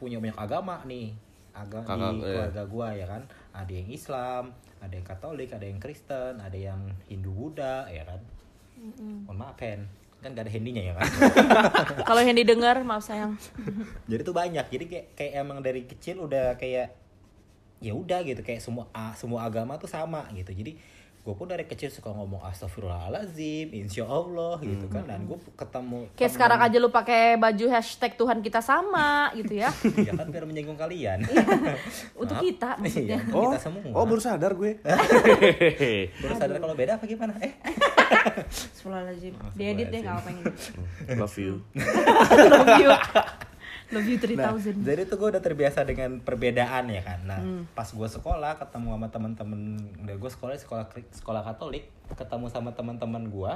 [SPEAKER 4] punya banyak agama nih. Agama
[SPEAKER 1] Kakak,
[SPEAKER 4] di
[SPEAKER 1] iya.
[SPEAKER 4] keluarga gue ya kan. Ada yang Islam, ada yang Katolik, ada yang Kristen, ada yang Hindu Buddha ya kan. Mohon maaf Hen, kan gak ada hendinya ya kan.
[SPEAKER 1] <laughs>
[SPEAKER 3] Kalau yang didengar maaf sayang.
[SPEAKER 4] Jadi tuh banyak. Jadi kayak kayak emang dari kecil udah kayak ya udah gitu kayak semua a- semua agama tuh sama gitu. Jadi gue pun dari kecil suka ngomong astagfirullahalazim, insya Allah gitu kan. Dan gue ketemu
[SPEAKER 3] Hmm. Kayak sekarang aja lu pakai baju hashtag Tuhan kita sama gitu ya.
[SPEAKER 4] ya kan biar menyinggung kalian. <laughs>
[SPEAKER 3] Untuk
[SPEAKER 4] Maaf.
[SPEAKER 3] kita Iya. maksudnya.
[SPEAKER 4] Iya,
[SPEAKER 1] Oh,
[SPEAKER 4] kita semua.
[SPEAKER 1] oh baru sadar gue.
[SPEAKER 4] <laughs>
[SPEAKER 1] <laughs>
[SPEAKER 4] baru sadar kalau beda apa gimana? Eh,
[SPEAKER 3] Astagfirullahaladzim. Diedit deh enggak apa yang ini.
[SPEAKER 1] Love you.
[SPEAKER 3] Love you. Love you 3000.
[SPEAKER 4] Nah, jadi tuh gue udah terbiasa dengan perbedaan ya kan. Nah,
[SPEAKER 3] Hmm.
[SPEAKER 4] pas gue sekolah ketemu sama teman-teman, udah gue sekolah di sekolah kri- sekolah Katolik, ketemu sama teman-teman gue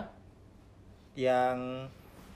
[SPEAKER 4] yang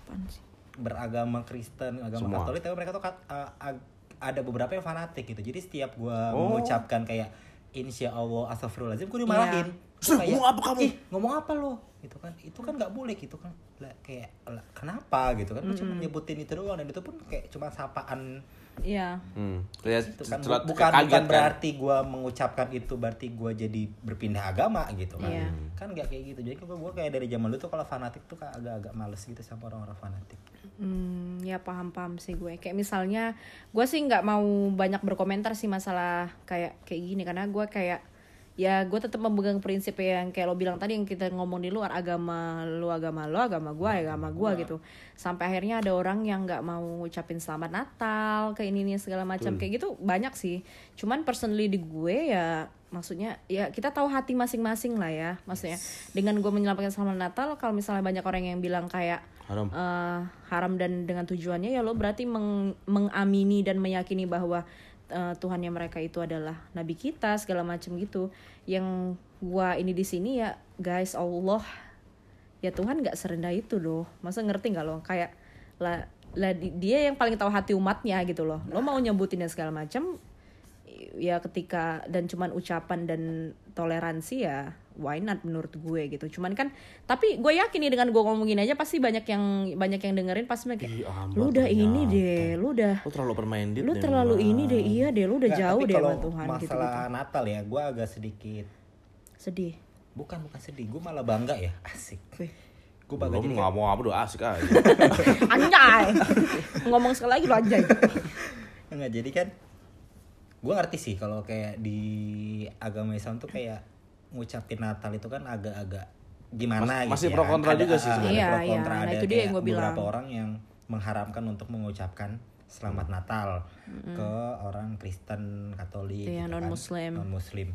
[SPEAKER 3] Apaan sih?
[SPEAKER 4] beragama Kristen, agama
[SPEAKER 1] Semua.
[SPEAKER 4] Katolik, tapi mereka tuh kat- a- a- ada beberapa yang fanatik gitu. Jadi setiap gue
[SPEAKER 1] Oh.
[SPEAKER 4] mengucapkan kayak Insya Allah, Astagfirullahaladzim, gue dimarahin. Gue
[SPEAKER 1] Sih, ngomong apa kamu?
[SPEAKER 4] Ih, ngomong apa lo? Gitu kan, itu kan nggak boleh gitu kan. Lah, kayak lah, kenapa gitu kan? Gue cuma nyebutin itu doang dan itu pun kayak cuma sapaan
[SPEAKER 3] Iya.
[SPEAKER 1] Hmm. Kayak
[SPEAKER 4] itu kan
[SPEAKER 1] celat-
[SPEAKER 4] bu- bukan
[SPEAKER 1] kaget
[SPEAKER 4] bukan
[SPEAKER 1] kan?
[SPEAKER 4] berarti gua mengucapkan itu berarti gua jadi berpindah agama gitu kan
[SPEAKER 3] Iya.
[SPEAKER 4] kan nggak kayak gitu jadi gua, gua kayak dari zaman dulu tuh kalau fanatik tuh kayak agak-agak males gitu sama orang-orang fanatik
[SPEAKER 3] Hmm, ya paham paham sih gue. Kayak misalnya, gue sih nggak mau banyak berkomentar sih masalah kayak kayak gini karena gue kayak ya gue tetap memegang prinsip yang kayak lo bilang tadi yang kita ngomong di luar agama lo agama lo agama gue ya agama gue gitu sampai akhirnya ada orang yang nggak mau ngucapin selamat Natal ke ini ini segala macam kayak gitu banyak sih cuman personally di gue ya maksudnya ya kita tahu hati masing-masing lah ya maksudnya dengan gue menyelamatkan selamat Natal kalau misalnya banyak orang yang bilang kayak
[SPEAKER 1] Haram.
[SPEAKER 3] eh, haram dan dengan tujuannya ya lo berarti meng- mengamini dan meyakini bahwa eh, Tuhan yang mereka itu adalah nabi kita segala macam gitu. Yang gua ini di sini ya guys Allah ya Tuhan nggak serendah itu loh. Masa ngerti nggak lo kayak lah lah di- dia yang paling tahu hati umatnya gitu loh. Lo mau nyebutin dan segala macam ya ketika dan cuman ucapan dan toleransi ya why not menurut gue gitu cuman kan tapi gue yakin nih dengan gue ngomongin aja pasti banyak yang banyak yang dengerin pasti mereka
[SPEAKER 4] Iya,
[SPEAKER 1] Ih, amat
[SPEAKER 3] lu udah ini
[SPEAKER 1] ternyata.
[SPEAKER 3] deh lu udah
[SPEAKER 1] Lu terlalu permainan
[SPEAKER 3] lu terlalu ini deh iya deh lu udah
[SPEAKER 4] Nggak,
[SPEAKER 3] jauh
[SPEAKER 4] tapi
[SPEAKER 3] deh
[SPEAKER 4] kalau
[SPEAKER 3] sama Tuhan gitu,
[SPEAKER 4] masalah Natal ya gua agak sedikit
[SPEAKER 3] sedih
[SPEAKER 4] bukan bukan sedih gua malah bangga ya asik
[SPEAKER 3] Wih. <laughs>
[SPEAKER 4] gua bangga
[SPEAKER 1] Belum
[SPEAKER 4] jadi kan?
[SPEAKER 1] ngomong apa doa
[SPEAKER 4] <laughs>
[SPEAKER 1] asik aja.
[SPEAKER 3] anjay ngomong sekali lagi lu anjay
[SPEAKER 4] Enggak, jadi kan gue ngerti sih kalau kayak di agama Islam tuh kayak ngucapin Natal itu kan agak-agak gimana
[SPEAKER 1] Mas- masih
[SPEAKER 4] gitu ya
[SPEAKER 1] pro
[SPEAKER 4] kan.
[SPEAKER 1] kontra
[SPEAKER 4] Ada-
[SPEAKER 1] juga sih
[SPEAKER 4] ada
[SPEAKER 1] sebenarnya.
[SPEAKER 4] pro
[SPEAKER 3] Iya,
[SPEAKER 4] kontra,
[SPEAKER 3] iya. Nah,
[SPEAKER 4] ada
[SPEAKER 3] itu dia
[SPEAKER 4] kayak
[SPEAKER 3] yang gua
[SPEAKER 4] beberapa
[SPEAKER 3] bilang.
[SPEAKER 4] orang yang mengharamkan untuk mengucapkan selamat
[SPEAKER 1] Hmm.
[SPEAKER 4] Natal ke orang Kristen Katolik
[SPEAKER 3] Hmm. Iya,
[SPEAKER 4] gitu kan,
[SPEAKER 3] non-Muslim.
[SPEAKER 4] non-Muslim.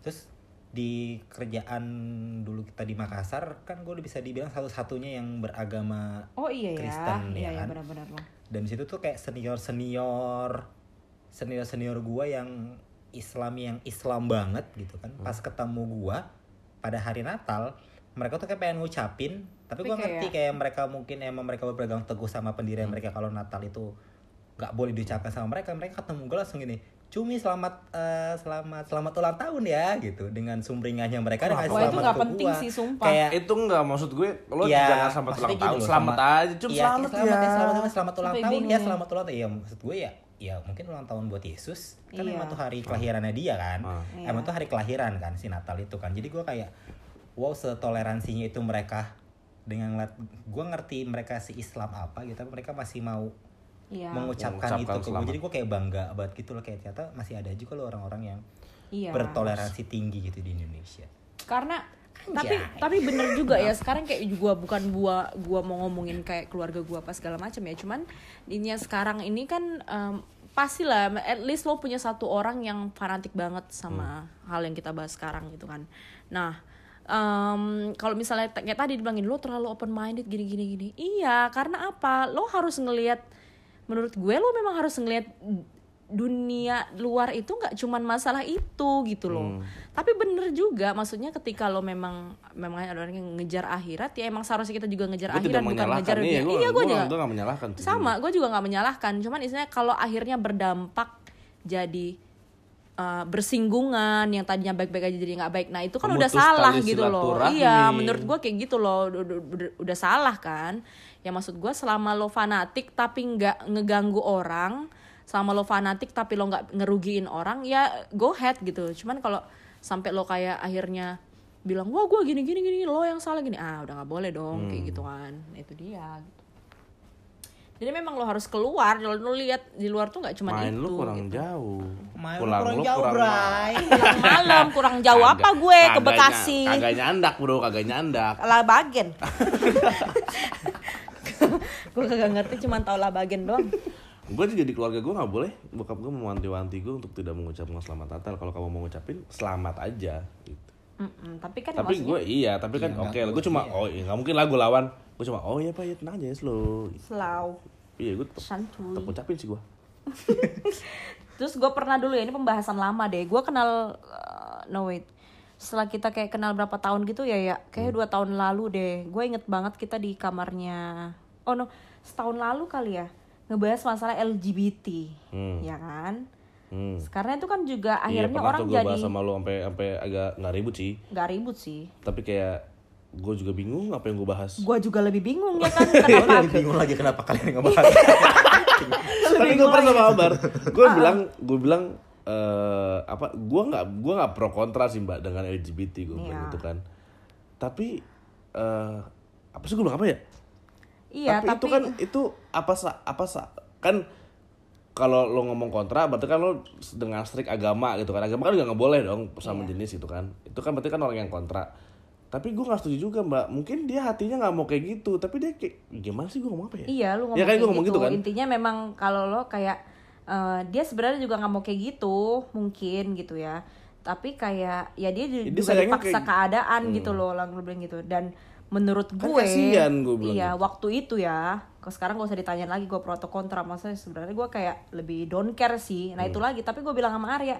[SPEAKER 4] terus di kerjaan dulu kita di Makassar kan gue bisa dibilang satu-satunya yang beragama
[SPEAKER 3] oh iya ya
[SPEAKER 4] Kristen, ya
[SPEAKER 3] iya ya
[SPEAKER 4] kan?
[SPEAKER 3] benar-benar lo
[SPEAKER 4] dan di situ tuh kayak senior senior senior senior gua yang
[SPEAKER 3] Hmm.
[SPEAKER 4] Islam yang Islam banget gitu kan pas ketemu gua pada hari Natal mereka tuh kayak pengen ngucapin tapi gue
[SPEAKER 3] Tapi kayak-
[SPEAKER 4] ngerti kayak mereka mungkin emang mereka berpegang teguh sama pendirian
[SPEAKER 3] Hmm.
[SPEAKER 4] mereka kalau Natal itu nggak boleh diucapkan sama mereka mereka ketemu gue langsung gini cumi selamat eh, selamat selamat ulang tahun ya gitu dengan sumringahnya mereka dengan
[SPEAKER 3] Wah, itu
[SPEAKER 4] selamat
[SPEAKER 3] nggak
[SPEAKER 4] ke
[SPEAKER 3] penting
[SPEAKER 4] gua.
[SPEAKER 3] sih, sumpah.
[SPEAKER 4] kayak
[SPEAKER 1] itu nggak maksud gue lo
[SPEAKER 4] Iya,
[SPEAKER 1] jangan sampai
[SPEAKER 4] maksudnya
[SPEAKER 1] ulang
[SPEAKER 4] gini
[SPEAKER 1] tahun
[SPEAKER 4] loh,
[SPEAKER 1] selamat
[SPEAKER 4] selamat-
[SPEAKER 1] aja cum
[SPEAKER 4] Iya,
[SPEAKER 1] selamat,
[SPEAKER 4] selamat
[SPEAKER 1] ya
[SPEAKER 4] selamat, selamat, selamat ulang
[SPEAKER 3] Sampai
[SPEAKER 4] tahun
[SPEAKER 3] bingung
[SPEAKER 4] ya
[SPEAKER 3] ya.
[SPEAKER 4] selamat ulang tahun ya maksud gue ya ya mungkin ulang tahun buat Yesus kan
[SPEAKER 3] Iya.
[SPEAKER 4] emang tuh hari kelahirannya dia kan
[SPEAKER 1] Ah.
[SPEAKER 4] emang tuh hari kelahiran kan si Natal itu kan jadi gue kayak wow setoleransinya itu mereka dengan ngeliat gue ngerti mereka si Islam apa gitu tapi mereka masih mau
[SPEAKER 3] Iya.
[SPEAKER 4] mengucapkan, itu
[SPEAKER 1] Mengucapkan
[SPEAKER 4] ke gue
[SPEAKER 1] selamat.
[SPEAKER 4] jadi gue kayak bangga banget gitu loh kayak ternyata masih ada juga loh orang-orang yang
[SPEAKER 3] Iya.
[SPEAKER 4] bertoleransi tinggi gitu di Indonesia
[SPEAKER 3] karena tapi
[SPEAKER 4] Anjay.
[SPEAKER 3] tapi bener juga ya sekarang kayak gua bukan gua gua mau ngomongin kayak keluarga gua apa segala macam ya cuman ininya sekarang ini kan em, pastilah at least lo punya satu orang yang fanatik banget sama hal yang kita bahas sekarang gitu kan nah em, kalau misalnya t- kayak tadi dibilangin lo terlalu open minded gini gini gini iya karena apa lo harus ngelihat menurut gue lo memang harus ngelihat dunia luar itu nggak cuman masalah itu gitu
[SPEAKER 1] Hmm.
[SPEAKER 3] loh. Tapi bener juga maksudnya ketika lo memang memang ada orang yang ngejar akhirat ya emang seharusnya kita juga ngejar
[SPEAKER 1] gue
[SPEAKER 3] akhirat
[SPEAKER 1] tidak
[SPEAKER 3] bukan
[SPEAKER 1] menyalahkan
[SPEAKER 3] ngejar dunia.
[SPEAKER 1] nih ya gue
[SPEAKER 3] iya gue juga
[SPEAKER 1] gue nggak menyalahkan sih.
[SPEAKER 3] sama, gue juga nggak menyalahkan. Cuman istilahnya kalau akhirnya berdampak jadi uh, bersinggungan yang tadinya baik-baik aja jadi nggak baik. Nah itu kan udah
[SPEAKER 1] Memutus
[SPEAKER 3] salah
[SPEAKER 1] tali
[SPEAKER 3] gitu loh.
[SPEAKER 1] silaturahmi.
[SPEAKER 3] Iya, menurut gue kayak gitu loh, udah, udah- udah- udah salah kan. Ya maksud gue selama lo fanatik tapi nggak ngeganggu orang, selama lo fanatik tapi lo nggak ngerugiin orang, ya go ahead gitu. Cuman kalau sampai lo kayak akhirnya bilang wah gue gini gini gini lo yang salah gini ah udah nggak boleh dong kayak
[SPEAKER 1] Hmm.
[SPEAKER 3] gitu kan Nah, itu dia jadi memang lo harus keluar, lo, lo lihat di luar tuh nggak cuma
[SPEAKER 1] main
[SPEAKER 3] itu.
[SPEAKER 1] lu kurang
[SPEAKER 3] gitu.
[SPEAKER 1] jauh
[SPEAKER 4] Main lu
[SPEAKER 1] Pulang
[SPEAKER 4] kurang
[SPEAKER 1] lu
[SPEAKER 4] jauh
[SPEAKER 1] kurang
[SPEAKER 4] bray
[SPEAKER 1] <laughs>
[SPEAKER 3] Pulang malam kurang jauh apa
[SPEAKER 1] Kagak-
[SPEAKER 3] gue ke
[SPEAKER 1] kagak
[SPEAKER 3] Bekasi?
[SPEAKER 1] ny- kagak nyandak bro kagak nyandak <laughs>
[SPEAKER 3] Labagen. <laughs> gue kagak ngerti cuma tahu labagen doang.
[SPEAKER 1] gue juga di keluarga gue nggak boleh bokap gue mewanti-wanti gue untuk tidak mengucapkan selamat natal kalau kamu mau ngucapin selamat aja gitu.
[SPEAKER 3] Mm-mm, tapi kan
[SPEAKER 1] tapi
[SPEAKER 3] maksudnya
[SPEAKER 1] gue iya tapi kan
[SPEAKER 4] Iya,
[SPEAKER 1] oke
[SPEAKER 4] nggak
[SPEAKER 1] gue cuma oh iya nggak mungkin lah gue lawan gue cuma oh iya pak ya tenang aja ya slow
[SPEAKER 3] selau
[SPEAKER 1] iya gue tetap tetap
[SPEAKER 3] santuy.
[SPEAKER 1] ngucapin sih gue
[SPEAKER 3] Terus gue pernah dulu ya ini pembahasan lama deh. Gue kenal uh, no wait. Setelah kita kayak kenal berapa tahun gitu ya ya
[SPEAKER 1] Hmm.
[SPEAKER 3] kayak dua tahun lalu deh. Gue inget banget kita di kamarnya. Oh no setahun lalu kali ya ngebahas masalah LGBT
[SPEAKER 1] Hmm.
[SPEAKER 3] ya kan.
[SPEAKER 1] hmm. Iya,
[SPEAKER 3] Karena itu kan juga akhirnya
[SPEAKER 1] pernah
[SPEAKER 3] orang
[SPEAKER 1] tuh gua
[SPEAKER 3] jadi
[SPEAKER 1] bahas sama lu sampai sampai agak nggak ribut sih
[SPEAKER 3] nggak ribut sih.
[SPEAKER 1] tapi kayak gue juga bingung apa yang gue bahas
[SPEAKER 3] Gue juga lebih bingung ya
[SPEAKER 1] <laughs>
[SPEAKER 3] kan kenapa?
[SPEAKER 4] lebih <laughs> bingung lagi kenapa kalian ngebahas
[SPEAKER 1] tapi gue pernah sama Ambar gue
[SPEAKER 3] Ah.
[SPEAKER 1] bilang gue bilang eh apa gue nggak gue nggak pro kontra sih mbak dengan LGBT gue
[SPEAKER 3] Iya.
[SPEAKER 1] bilang gitu kan tapi eh apa sih gue bilang apa ya
[SPEAKER 3] iya tapi,
[SPEAKER 1] tapi, itu kan itu apa sa apa sa kan kalau lo ngomong kontra berarti kan lo dengan strik agama gitu kan agama kan nggak boleh dong sama
[SPEAKER 3] Iya.
[SPEAKER 1] jenis gitu kan itu kan berarti kan orang yang kontra tapi gue nggak setuju juga mbak mungkin dia hatinya nggak mau kayak gitu tapi dia kayak gimana sih gue ngomong apa ya
[SPEAKER 3] iya lu ngomong,
[SPEAKER 1] ya, kan
[SPEAKER 3] kayak
[SPEAKER 1] gue ngomong gitu, kan
[SPEAKER 3] Intinya memang kalau lo kayak eh, dia sebenarnya juga nggak mau kayak gitu mungkin gitu ya. Tapi kayak ya dia ju-
[SPEAKER 1] Dia
[SPEAKER 3] juga
[SPEAKER 1] sayangnya
[SPEAKER 3] dipaksa
[SPEAKER 1] kayak- Hmm.
[SPEAKER 3] keadaan gitu loh orang lu bilang gitu dan menurut
[SPEAKER 1] Kan
[SPEAKER 3] gue
[SPEAKER 1] kasihan gue bilang gitu.
[SPEAKER 3] iya waktu itu ya kok sekarang gak usah ditanyain lagi gue pro atau kontra maksudnya sebenarnya gue kayak lebih don't care sih nah itu
[SPEAKER 1] Hmm.
[SPEAKER 3] lagi tapi gue bilang sama Arya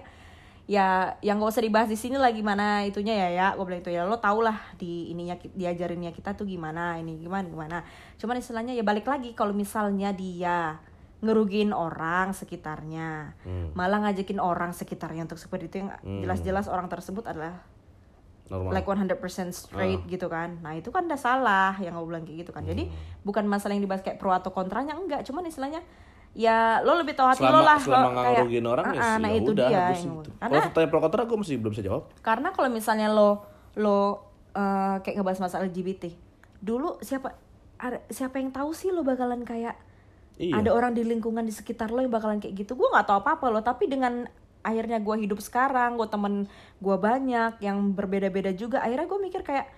[SPEAKER 3] ya yang gak usah dibahas di sini lah gimana itunya ya ya gue bilang itu ya lo tau lah di ininya ki- diajarinnya kita tuh gimana ini gimana gimana cuman istilahnya ya balik lagi kalau misalnya dia ngerugiin orang sekitarnya
[SPEAKER 1] Hmm.
[SPEAKER 3] malah ngajakin orang sekitarnya untuk seperti itu yang jelas-jelas orang tersebut adalah
[SPEAKER 1] normal
[SPEAKER 3] like 100%
[SPEAKER 1] Ah.
[SPEAKER 3] straight gitu kan nah itu kan udah salah yang aku bilang kayak gitu kan
[SPEAKER 1] Hmm.
[SPEAKER 3] jadi bukan masalah yang dibahas kayak pro atau kontranya enggak cuman istilahnya ya lo lebih tahu hati
[SPEAKER 1] selama
[SPEAKER 3] lo lah
[SPEAKER 1] selama
[SPEAKER 3] lo
[SPEAKER 1] nggak
[SPEAKER 3] kayak,
[SPEAKER 1] ngerugiin orang ya
[SPEAKER 3] "Ah,
[SPEAKER 1] sih,
[SPEAKER 3] nah
[SPEAKER 1] ya
[SPEAKER 3] itu
[SPEAKER 1] udah
[SPEAKER 3] dia
[SPEAKER 1] habis
[SPEAKER 3] yang-
[SPEAKER 1] gitu.
[SPEAKER 3] karena
[SPEAKER 1] kalau tanya pro kontra gue masih belum bisa jawab
[SPEAKER 3] karena kalau misalnya lo lo eh, kayak ngebahas masalah LGBT dulu siapa ada- siapa yang tahu sih lo bakalan kayak
[SPEAKER 1] Iya.
[SPEAKER 3] ada orang di lingkungan di sekitar lo yang bakalan kayak gitu gue nggak tahu apa apa lo tapi dengan akhirnya gue hidup sekarang gue temen gue banyak yang berbeda-beda juga akhirnya gue mikir kayak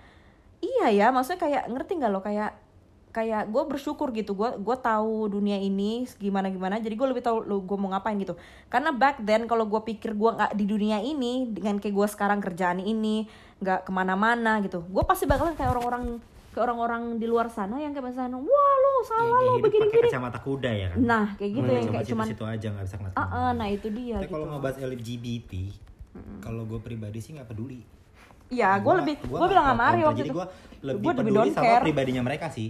[SPEAKER 3] iya ya maksudnya kayak ngerti nggak lo kayak kayak gue bersyukur gitu gue gue tahu dunia ini gimana gimana jadi gue lebih tahu lo gue mau ngapain gitu karena back then kalau gue pikir gue nggak di dunia ini dengan kayak gue sekarang kerjaan ini nggak kemana-mana gitu gue pasti bakalan kayak orang-orang ke orang-orang di luar sana yang kayak misalnya wah lo salah lo
[SPEAKER 4] hidup pakai
[SPEAKER 3] begini-gini
[SPEAKER 4] kacamata kuda ya kan
[SPEAKER 3] nah kayak gitu yang kayak cuman
[SPEAKER 4] situ aja nggak bisa ngeliat
[SPEAKER 3] ah ah,
[SPEAKER 4] kemana-mana.
[SPEAKER 3] nah itu dia
[SPEAKER 4] Tapi
[SPEAKER 3] gitu
[SPEAKER 4] kalau ngebahas LGBT, kalau gue pribadi sih nggak peduli.
[SPEAKER 3] Iya, gue
[SPEAKER 4] Gua-
[SPEAKER 3] lebih
[SPEAKER 4] gua
[SPEAKER 3] gue bilang sama
[SPEAKER 4] nggak
[SPEAKER 3] Ari
[SPEAKER 4] kontra.
[SPEAKER 3] waktu
[SPEAKER 4] Jadi
[SPEAKER 3] itu.
[SPEAKER 4] gue lebih
[SPEAKER 3] Gua
[SPEAKER 4] peduli
[SPEAKER 3] don't
[SPEAKER 4] sama
[SPEAKER 3] care.
[SPEAKER 4] pribadinya mereka sih.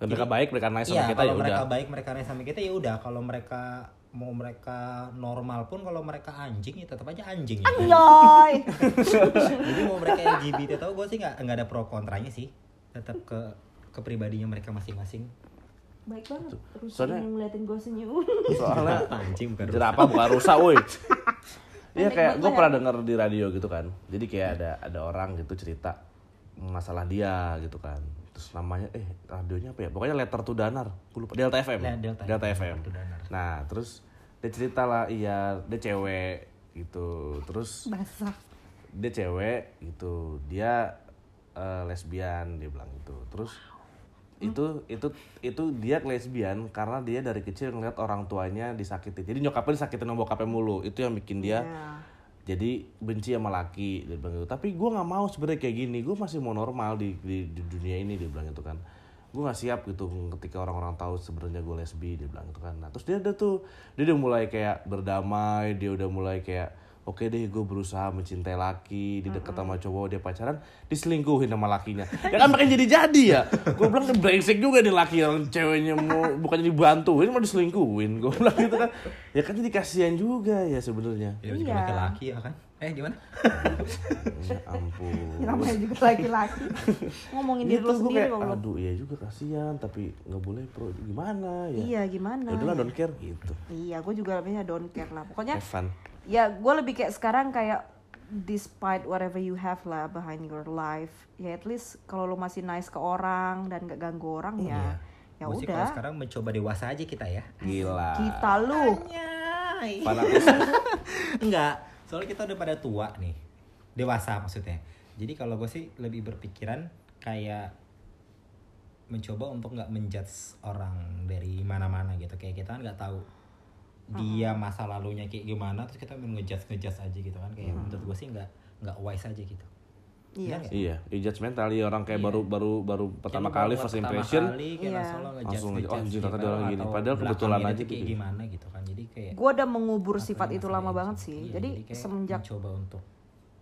[SPEAKER 1] mereka baik mereka nice sama
[SPEAKER 4] Iya,
[SPEAKER 1] kita ya
[SPEAKER 4] kalau
[SPEAKER 1] udah
[SPEAKER 4] mereka baik, mereka nice sama kita ya udah. Kalau mereka mau mereka normal pun kalau mereka anjing ya tetap aja anjing. ya.
[SPEAKER 3] <laughs> Iya.
[SPEAKER 4] <laughs>
[SPEAKER 3] Anjay.
[SPEAKER 4] Jadi mau mereka LGBT atau gue sih nggak nggak ada pro kontranya sih. Tetap ke ke pribadinya mereka masing-masing.
[SPEAKER 3] Baik banget. Terus
[SPEAKER 1] Soalnya-
[SPEAKER 3] yang ngeliatin gue
[SPEAKER 4] <laughs>
[SPEAKER 3] senyum.
[SPEAKER 1] soalnya
[SPEAKER 4] anjing bukan
[SPEAKER 1] jerapah bukan rusak
[SPEAKER 4] <laughs>
[SPEAKER 1] woi Iya
[SPEAKER 3] Pendek
[SPEAKER 1] kayak gue
[SPEAKER 3] banget. ya.
[SPEAKER 1] pernah denger di radio gitu kan jadi kayak ada ada orang gitu cerita masalah dia gitu kan terus namanya eh radionya apa ya pokoknya letter to danar gue lupa Delta FM
[SPEAKER 4] Le- Ya, Delta
[SPEAKER 1] FM
[SPEAKER 4] Letter to Danar.
[SPEAKER 1] nah terus dia cerita lah iya dia cewek gitu terus
[SPEAKER 3] Basah.
[SPEAKER 1] dia cewek gitu dia eh, lesbian dia bilang gitu terus itu itu itu dia lesbian karena dia dari kecil ngeliat orang tuanya disakiti jadi nyokapnya disakitin sama bokapnya mulu itu yang bikin dia jadi benci sama laki dia bilang gitu tapi gue nggak mau sebenarnya kayak gini gue masih mau normal di, di, di dunia ini dia bilang gitu kan gue nggak siap gitu ketika orang-orang tahu sebenarnya gue lesbi dia bilang gitu kan nah terus dia udah tuh dia udah mulai kayak berdamai dia udah mulai kayak oke deh gue berusaha mencintai laki di deket sama cowok dia pacaran diselingkuhin sama lakinya ya kan makin jadi jadi ya gue bilang "Ini brengsek juga nih laki orang ceweknya mau bukannya dibantuin mau diselingkuhin gue bilang gitu kan ya kan jadi kasihan juga ya sebenarnya
[SPEAKER 4] Ya, juga
[SPEAKER 3] Iya.
[SPEAKER 4] laki-laki ya kan? Eh gimana?
[SPEAKER 1] Ya ampun.
[SPEAKER 3] <laughs> Namanya juga
[SPEAKER 4] <laughs>
[SPEAKER 3] laki-laki. Ngomongin diri
[SPEAKER 1] Gitu
[SPEAKER 3] lo
[SPEAKER 1] gue
[SPEAKER 3] sendiri
[SPEAKER 1] kayak,
[SPEAKER 3] kalau
[SPEAKER 1] aduh iya juga kasihan tapi nggak boleh pro gimana ya.
[SPEAKER 3] Iya, gimana?
[SPEAKER 1] Ya udahlah don't care gitu.
[SPEAKER 3] Iya, gue juga lebihnya don't care lah. Pokoknya
[SPEAKER 1] Have fun.
[SPEAKER 3] ya gue lebih kayak sekarang kayak despite whatever you have lah behind your life ya at least kalau lo masih nice ke orang dan gak ganggu orang ya ya
[SPEAKER 4] Iya. Gua sih
[SPEAKER 3] udah
[SPEAKER 4] kalau sekarang mencoba dewasa aja kita ya.
[SPEAKER 1] Gila.
[SPEAKER 3] kita lu
[SPEAKER 4] Nyai.
[SPEAKER 1] Fanatis.
[SPEAKER 3] <laughs>
[SPEAKER 4] Enggak, soalnya kita udah pada tua nih. Dewasa maksudnya. Jadi kalau gue sih lebih berpikiran kayak mencoba untuk nggak menjudge orang dari mana-mana gitu. Kayak kita kan nggak tahu dia masa lalunya kayak gimana terus kita ngejudge ngejudge aja gitu kan kayak menurut gue sih nggak nggak wise aja gitu.
[SPEAKER 3] iya
[SPEAKER 4] Iya.
[SPEAKER 1] iya, ya judgmental ya orang kayak baru baru baru pertama
[SPEAKER 4] Jadi
[SPEAKER 1] kali
[SPEAKER 4] buat
[SPEAKER 1] first
[SPEAKER 4] pertama
[SPEAKER 1] impression.
[SPEAKER 4] kali kayak
[SPEAKER 3] Iya.
[SPEAKER 4] langsung lo ngejudge
[SPEAKER 1] Langsung
[SPEAKER 4] ngejudge
[SPEAKER 1] ngejudge, oh, anjing, ternyata
[SPEAKER 4] gitu,
[SPEAKER 1] dia orang gini.
[SPEAKER 4] atau
[SPEAKER 1] Padahal
[SPEAKER 4] belakangnya
[SPEAKER 1] kebetulan
[SPEAKER 4] dia
[SPEAKER 1] aja
[SPEAKER 4] tuh kayak
[SPEAKER 1] gitu.
[SPEAKER 4] gimana gitu kan jadi kayak ya,
[SPEAKER 3] gue udah mengubur sifat
[SPEAKER 4] Makanya
[SPEAKER 3] itu lama
[SPEAKER 4] masalahnya
[SPEAKER 3] banget
[SPEAKER 4] di situ.
[SPEAKER 3] sih
[SPEAKER 4] Iya,
[SPEAKER 3] jadi
[SPEAKER 4] kayak hmm.
[SPEAKER 3] semenjak
[SPEAKER 4] mencoba untuk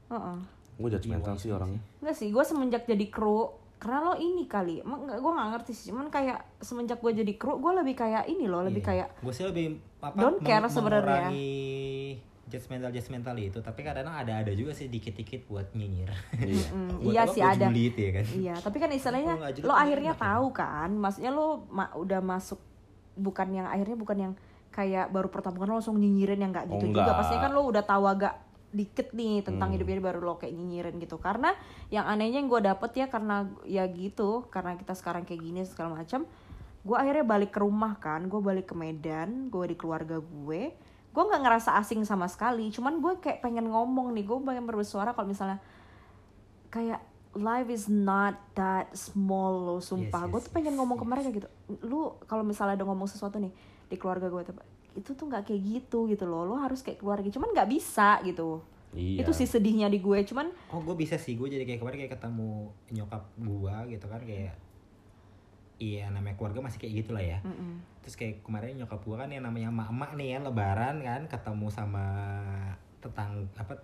[SPEAKER 3] Heeh.
[SPEAKER 1] Gue judgmental
[SPEAKER 4] Iya,
[SPEAKER 1] sih
[SPEAKER 4] iya,
[SPEAKER 1] orangnya.
[SPEAKER 3] Nggak sih gue semenjak jadi kru karena lo ini kali emang nggak gue nggak ngerti sih cuman kayak semenjak gue jadi kru gue lebih kayak ini loh lebih kayak
[SPEAKER 4] gue iya. sih lebih apa
[SPEAKER 3] Don't care
[SPEAKER 4] meng-
[SPEAKER 3] sebenarnya.
[SPEAKER 4] mengurangi judgmental judgmental itu tapi kadang ada ada juga sih dikit dikit buat nyinyir <laughs>
[SPEAKER 1] Iya.
[SPEAKER 4] Buat
[SPEAKER 3] iya
[SPEAKER 4] apa?
[SPEAKER 3] sih
[SPEAKER 4] Buat
[SPEAKER 3] ada.
[SPEAKER 4] julid ya kan
[SPEAKER 3] Iya, tapi kan istilahnya
[SPEAKER 4] Kalau nggak jelas
[SPEAKER 3] lo
[SPEAKER 4] kan
[SPEAKER 3] akhirnya
[SPEAKER 4] enak ya.
[SPEAKER 3] tahu kan, maksudnya lo ma- udah masuk bukan yang akhirnya bukan yang kayak baru pertemuan lo langsung nyinyirin yang nggak
[SPEAKER 1] Oh,
[SPEAKER 3] gitu juga.
[SPEAKER 1] nggak.
[SPEAKER 3] Pastinya kan lo udah tahu agak dikit nih
[SPEAKER 4] Hmm.
[SPEAKER 3] tentang hidupnya baru lo kayak nyinyirin gitu. Karena yang anehnya yang gue dapet ya karena ya gitu, karena kita sekarang kayak gini segala macam. Gue akhirnya balik ke rumah kan, gue balik ke Medan, gue di keluarga gue. Gue nggak ngerasa asing sama sekali, cuman gue kayak pengen ngomong nih, gue pengen bersuara kalau misalnya kayak life is not that small lo
[SPEAKER 4] Yes,
[SPEAKER 3] sumpah gue
[SPEAKER 4] yes,
[SPEAKER 3] tuh pengen
[SPEAKER 4] yes,
[SPEAKER 3] ngomong ke
[SPEAKER 4] yes.
[SPEAKER 3] mereka gitu lu kalau misalnya ada ngomong sesuatu nih di keluarga gue tuh, itu tuh nggak kayak gitu gitu loh lo harus kayak keluarga cuman nggak bisa gitu
[SPEAKER 1] Iya.
[SPEAKER 3] itu sih sedihnya di gue cuman
[SPEAKER 4] oh gue bisa sih gue jadi kayak kemarin kayak ketemu nyokap gue gitu kan kayak iya namanya keluarga masih kayak gitulah ya
[SPEAKER 3] mm-mm.
[SPEAKER 4] terus kayak kemarin nyokap gue kan yang namanya emak-emak nih ya lebaran kan ketemu sama tetang apa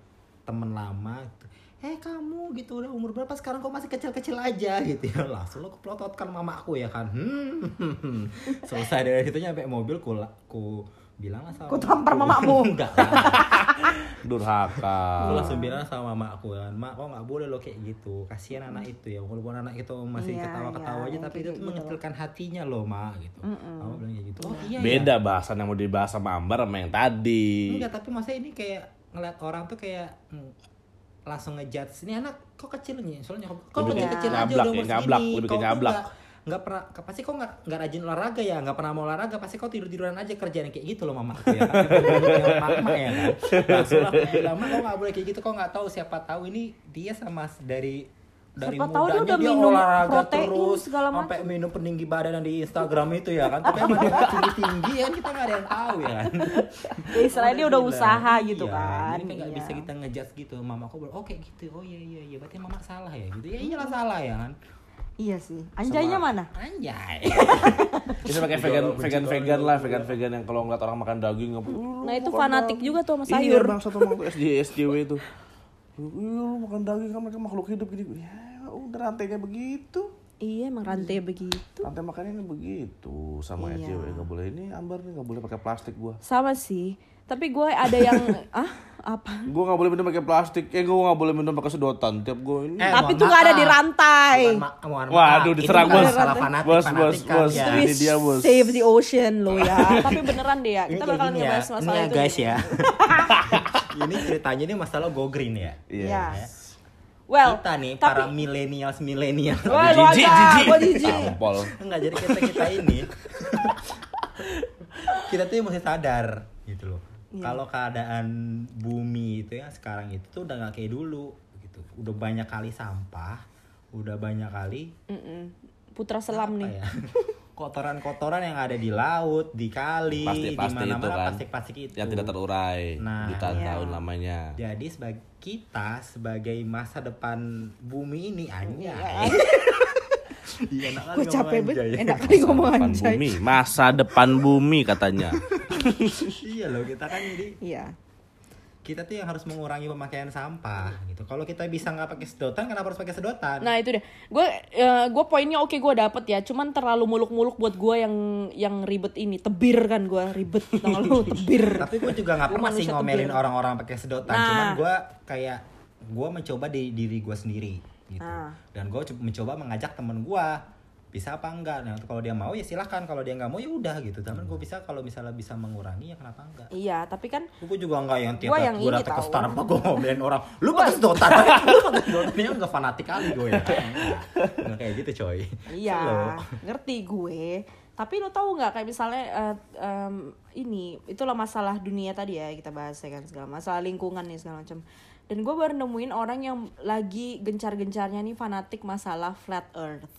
[SPEAKER 4] temen lama gitu. eh kamu gitu udah umur berapa sekarang kok masih kecil-kecil aja gitu ya langsung lo keplototkan mamaku ya kan hmm. <laughs> selesai dari situ nyampe mobil ku la- ku bilang lah sama
[SPEAKER 3] Ku tampar mamamu.
[SPEAKER 4] <laughs> enggak lah.
[SPEAKER 1] Durhaka.
[SPEAKER 4] Aku langsung bilang sama mama aku kan, mak kok nggak boleh lo kayak gitu, kasihan anak itu ya, walaupun anak itu masih
[SPEAKER 3] Iya,
[SPEAKER 4] ketawa-ketawa
[SPEAKER 3] iya,
[SPEAKER 4] aja,
[SPEAKER 3] yang
[SPEAKER 4] tapi
[SPEAKER 3] kayak
[SPEAKER 4] itu tuh
[SPEAKER 3] gitu
[SPEAKER 4] mengecilkan hatinya lo mak gitu. Mama bilang kayak gitu. Oh iya. iya.
[SPEAKER 1] Beda bahasan yang mau dibahas sama Ambar sama yang tadi.
[SPEAKER 4] Enggak, tapi masa ini kayak ngeliat orang tuh kayak mm, langsung ngejudge ini anak kok kecil nih soalnya nyokap, kok
[SPEAKER 1] Lebih
[SPEAKER 4] kecil
[SPEAKER 3] ke
[SPEAKER 4] kecil aja
[SPEAKER 1] nyablak
[SPEAKER 4] udah
[SPEAKER 1] ya,
[SPEAKER 4] umur
[SPEAKER 1] nyablak,
[SPEAKER 4] segini
[SPEAKER 1] lebih ke
[SPEAKER 4] kok kok
[SPEAKER 1] nyablak.
[SPEAKER 4] nggak- nggak pernah ke- pasti kok nggak nggak rajin olahraga ya nggak pernah mau olahraga pasti kok tidur tiduran aja kerjaan kayak gitu loh mama aku ya kan Kayak mama ya kan langsung aku bilang "Ma, kok nggak boleh kayak gitu kok nggak tahu siapa tahu ini dia sama s- dari dari
[SPEAKER 3] Siapa tahu dia
[SPEAKER 4] mudanya
[SPEAKER 3] udah minum
[SPEAKER 4] olahraga
[SPEAKER 3] protein
[SPEAKER 4] terus
[SPEAKER 3] segala
[SPEAKER 4] sampai minum peninggi badan yang di Instagram itu ya kan tapi emang dia tinggi tinggi ya kita nggak ada yang tahu ya kan
[SPEAKER 3] ya <laughs> istilahnya dia udah
[SPEAKER 4] bilang,
[SPEAKER 3] usaha gitu
[SPEAKER 4] iya,
[SPEAKER 3] kan
[SPEAKER 4] jadi nggak
[SPEAKER 3] Iya.
[SPEAKER 4] bisa kita ngejudge gitu mama aku bilang oke gitu oh iya iya iya berarti mama salah ya gitu ya iyalah salah ya kan
[SPEAKER 3] iya sih anjaynya
[SPEAKER 1] Sama-
[SPEAKER 3] mana
[SPEAKER 4] anjay
[SPEAKER 1] Kita pakai vegan vegan vegan lah, vegan vegan yang kalau "Uh, ngeliat orang makan daging apa.
[SPEAKER 3] nah itu fanatik juga tuh sama
[SPEAKER 1] Iya
[SPEAKER 3] sayur
[SPEAKER 1] bang satu SD SJW itu. Iya lu makan daging kan mereka makhluk hidup gini. Ya udah rantainya begitu.
[SPEAKER 3] Iya emang rantai begitu.
[SPEAKER 1] Rantai makannya ini begitu sama aja
[SPEAKER 3] Iya.
[SPEAKER 1] ya nggak boleh ini ambar nih nggak boleh pakai plastik gua.
[SPEAKER 3] Sama sih. Tapi gue ada
[SPEAKER 4] <laughs>
[SPEAKER 3] yang ah apa?
[SPEAKER 1] Gua nggak boleh minum pakai plastik. Eh gua nggak boleh minum pakai sedotan. Tiap gua ini.
[SPEAKER 2] Eh,
[SPEAKER 3] Tapi
[SPEAKER 2] mohon
[SPEAKER 3] itu nggak ada
[SPEAKER 2] maaf.
[SPEAKER 3] di rantai.
[SPEAKER 2] Bukan ma- mohon maaf,
[SPEAKER 1] Waduh,
[SPEAKER 2] itu
[SPEAKER 1] diserang,
[SPEAKER 2] bukan
[SPEAKER 1] Bos.
[SPEAKER 2] Salah fanatik,
[SPEAKER 1] Bos, bos,
[SPEAKER 4] kan
[SPEAKER 2] fanatikan,
[SPEAKER 1] bos.
[SPEAKER 2] ya.
[SPEAKER 1] Itu Ini dia, Bos.
[SPEAKER 3] Save the ocean lo ya. <laughs>
[SPEAKER 4] <laughs>
[SPEAKER 3] Tapi beneran deh ya.
[SPEAKER 4] Ini
[SPEAKER 3] Kita
[SPEAKER 4] kayak
[SPEAKER 3] bakalan
[SPEAKER 4] gini ya.
[SPEAKER 3] ngebahas masalah
[SPEAKER 4] ini ya
[SPEAKER 3] itu.
[SPEAKER 4] guys
[SPEAKER 3] <laughs>
[SPEAKER 4] ya. ini ceritanya ini masalah go green ya.
[SPEAKER 1] Iya.
[SPEAKER 3] Yes. Well,
[SPEAKER 4] kita nih
[SPEAKER 3] tapi
[SPEAKER 4] para milenials milenials.
[SPEAKER 3] Wah, lu
[SPEAKER 1] Jijik,
[SPEAKER 3] agak-
[SPEAKER 1] jijik.
[SPEAKER 3] gua jijik.
[SPEAKER 1] Tampol.
[SPEAKER 4] Enggak jadi kita kita ini. kita tuh mesti sadar gitu loh.
[SPEAKER 3] Iya.
[SPEAKER 4] Kalau keadaan bumi itu ya sekarang itu tuh udah nggak kayak dulu gitu. Udah banyak kali sampah, udah banyak kali
[SPEAKER 3] Mm-mm. Putra
[SPEAKER 4] apa
[SPEAKER 3] selam nih.
[SPEAKER 4] ya? Kotoran-kotoran yang ada di laut, di kali,
[SPEAKER 1] Plastik
[SPEAKER 4] di
[SPEAKER 1] plastik itu
[SPEAKER 4] mana-mana
[SPEAKER 1] kan.
[SPEAKER 4] plastik-plastik itu.
[SPEAKER 1] Yang tidak terurai
[SPEAKER 4] Nah,
[SPEAKER 1] jutaan
[SPEAKER 3] iya.
[SPEAKER 1] tahun lamanya.
[SPEAKER 4] Jadi sebagai kita sebagai masa depan bumi ini anjay. <laughs> Iya, enak kali
[SPEAKER 3] Gue
[SPEAKER 4] ngomong
[SPEAKER 3] capek banget.
[SPEAKER 4] anjay.
[SPEAKER 3] Enak kali ngomong
[SPEAKER 1] Depan
[SPEAKER 3] Oh, anjay.
[SPEAKER 1] bumi, masa depan bumi katanya.
[SPEAKER 4] Iya loh, kita kan jadi
[SPEAKER 3] Iya.
[SPEAKER 4] kita tuh yang harus mengurangi pemakaian sampah gitu. Kalau kita bisa nggak pakai sedotan, kenapa harus pakai sedotan?
[SPEAKER 3] Nah itu deh, gue gue poinnya oke gue dapet ya, cuman terlalu muluk-muluk buat gue yang yang ribet ini, tebir kan gue ribet, tau lu
[SPEAKER 4] <laughs>
[SPEAKER 3] tebir.
[SPEAKER 4] Tapi gue juga nggak
[SPEAKER 3] Lu
[SPEAKER 4] pernah sih
[SPEAKER 3] manusia
[SPEAKER 4] ngomelin
[SPEAKER 3] tebel.
[SPEAKER 4] orang-orang pakai sedotan.
[SPEAKER 3] Nah.
[SPEAKER 4] Cuman gue kayak gue mencoba di diri gue sendiri gitu.
[SPEAKER 3] Nah.
[SPEAKER 4] Dan gue mencoba mengajak temen gue bisa apa enggak. Nah kalau dia mau ya silahkan. Kalau dia nggak mau ya udah gitu. Cuman gue bisa kalau misalnya bisa mengurangi ya kenapa enggak?
[SPEAKER 3] Iya, tapi kan
[SPEAKER 4] Gue juga enggak yang tiap
[SPEAKER 3] Gua
[SPEAKER 4] gue
[SPEAKER 3] yang
[SPEAKER 4] gue
[SPEAKER 3] ini
[SPEAKER 4] datang ke
[SPEAKER 3] tahu.
[SPEAKER 4] Starbucks gue ngomelin orang. Lu pakai
[SPEAKER 3] <laughs>
[SPEAKER 4] sedotan? Lu pakai sedotan? Ini enggak fanatik kali gue ya. Enggak kayak gitu coy. Slow.
[SPEAKER 3] Iya, ngerti gue. Tapi lo tahu nggak kayak misalnya eh, em, ini itulah masalah dunia tadi ya kita bahas ya kan segala masalah lingkungan nih segala macam. Dan gue baru nemuin orang yang lagi gencar-gencarnya nih fanatik masalah flat earth.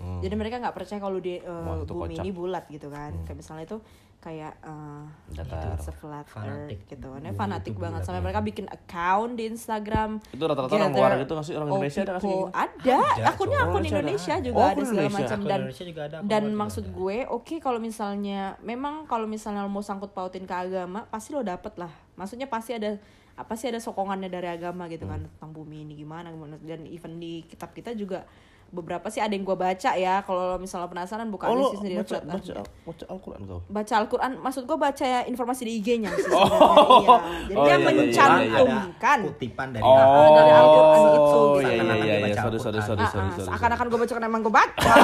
[SPEAKER 3] Jadi mereka nggak percaya kalau di eh,
[SPEAKER 1] Hmm. Wah, itu
[SPEAKER 3] bumi
[SPEAKER 1] kocak. Hmm.
[SPEAKER 3] ini bulat gitu kan. Kayak misalnya itu kayak eh,
[SPEAKER 1] Datar.
[SPEAKER 3] it's a flat
[SPEAKER 4] Fanatik.
[SPEAKER 3] earth gitu.
[SPEAKER 4] Bumi
[SPEAKER 3] Ini fanatik
[SPEAKER 4] itu
[SPEAKER 3] banget
[SPEAKER 4] bulat,
[SPEAKER 3] sampai
[SPEAKER 4] ya.
[SPEAKER 3] mereka bikin account di Instagram.
[SPEAKER 1] Itu rata-rata orang
[SPEAKER 3] gather
[SPEAKER 1] luar gitu nggak sih? Orang
[SPEAKER 3] all
[SPEAKER 1] Indonesia ada nggak sih kayak
[SPEAKER 3] people.
[SPEAKER 1] gitu?
[SPEAKER 3] Ada,
[SPEAKER 4] Ada,
[SPEAKER 3] akunnya
[SPEAKER 1] coba.
[SPEAKER 3] akun
[SPEAKER 1] Indonesia ada.
[SPEAKER 3] Indonesia juga
[SPEAKER 1] Oh,
[SPEAKER 3] ada
[SPEAKER 1] akun
[SPEAKER 3] segala
[SPEAKER 1] Indonesia.
[SPEAKER 3] macam
[SPEAKER 4] Akun
[SPEAKER 3] dan
[SPEAKER 4] Indonesia juga ada, akun
[SPEAKER 3] dan
[SPEAKER 4] luar juga
[SPEAKER 3] maksud
[SPEAKER 4] ada.
[SPEAKER 3] gue oke kalau misalnya memang kalau misalnya lo mau sangkut pautin ke agama pasti lo dapet lah maksudnya pasti ada apa sih ada sokongannya dari agama gitu kan
[SPEAKER 1] Hmm.
[SPEAKER 3] tentang bumi ini gimana gimana dan even di kitab kita juga beberapa sih ada yang gue baca ya kalau lo misalnya penasaran buka aja
[SPEAKER 1] Oh, lu
[SPEAKER 3] sih sendiri
[SPEAKER 1] baca,
[SPEAKER 3] flat earth.
[SPEAKER 1] baca, baca Al-Quran kau.
[SPEAKER 3] baca Al-Quran maksud gue baca ya informasi di IG-nya sih
[SPEAKER 1] Oh.
[SPEAKER 3] sebenarnya, iya. jadi dia
[SPEAKER 1] Oh, iya, iya, iya, iya.
[SPEAKER 3] mencantumkan
[SPEAKER 4] Ada kutipan dari
[SPEAKER 1] Oh,
[SPEAKER 3] dari Al-Quran gitu. itu,
[SPEAKER 1] iya iya
[SPEAKER 4] seakan-akan
[SPEAKER 1] iya, iya,
[SPEAKER 4] dibaca
[SPEAKER 1] sorry
[SPEAKER 4] Al-Quran.
[SPEAKER 1] sorry sorry
[SPEAKER 3] Ah,
[SPEAKER 1] sorry
[SPEAKER 3] ah,
[SPEAKER 1] sorry.
[SPEAKER 3] seakan-akan gue baca karena emang gue
[SPEAKER 1] <laughs>
[SPEAKER 3] baca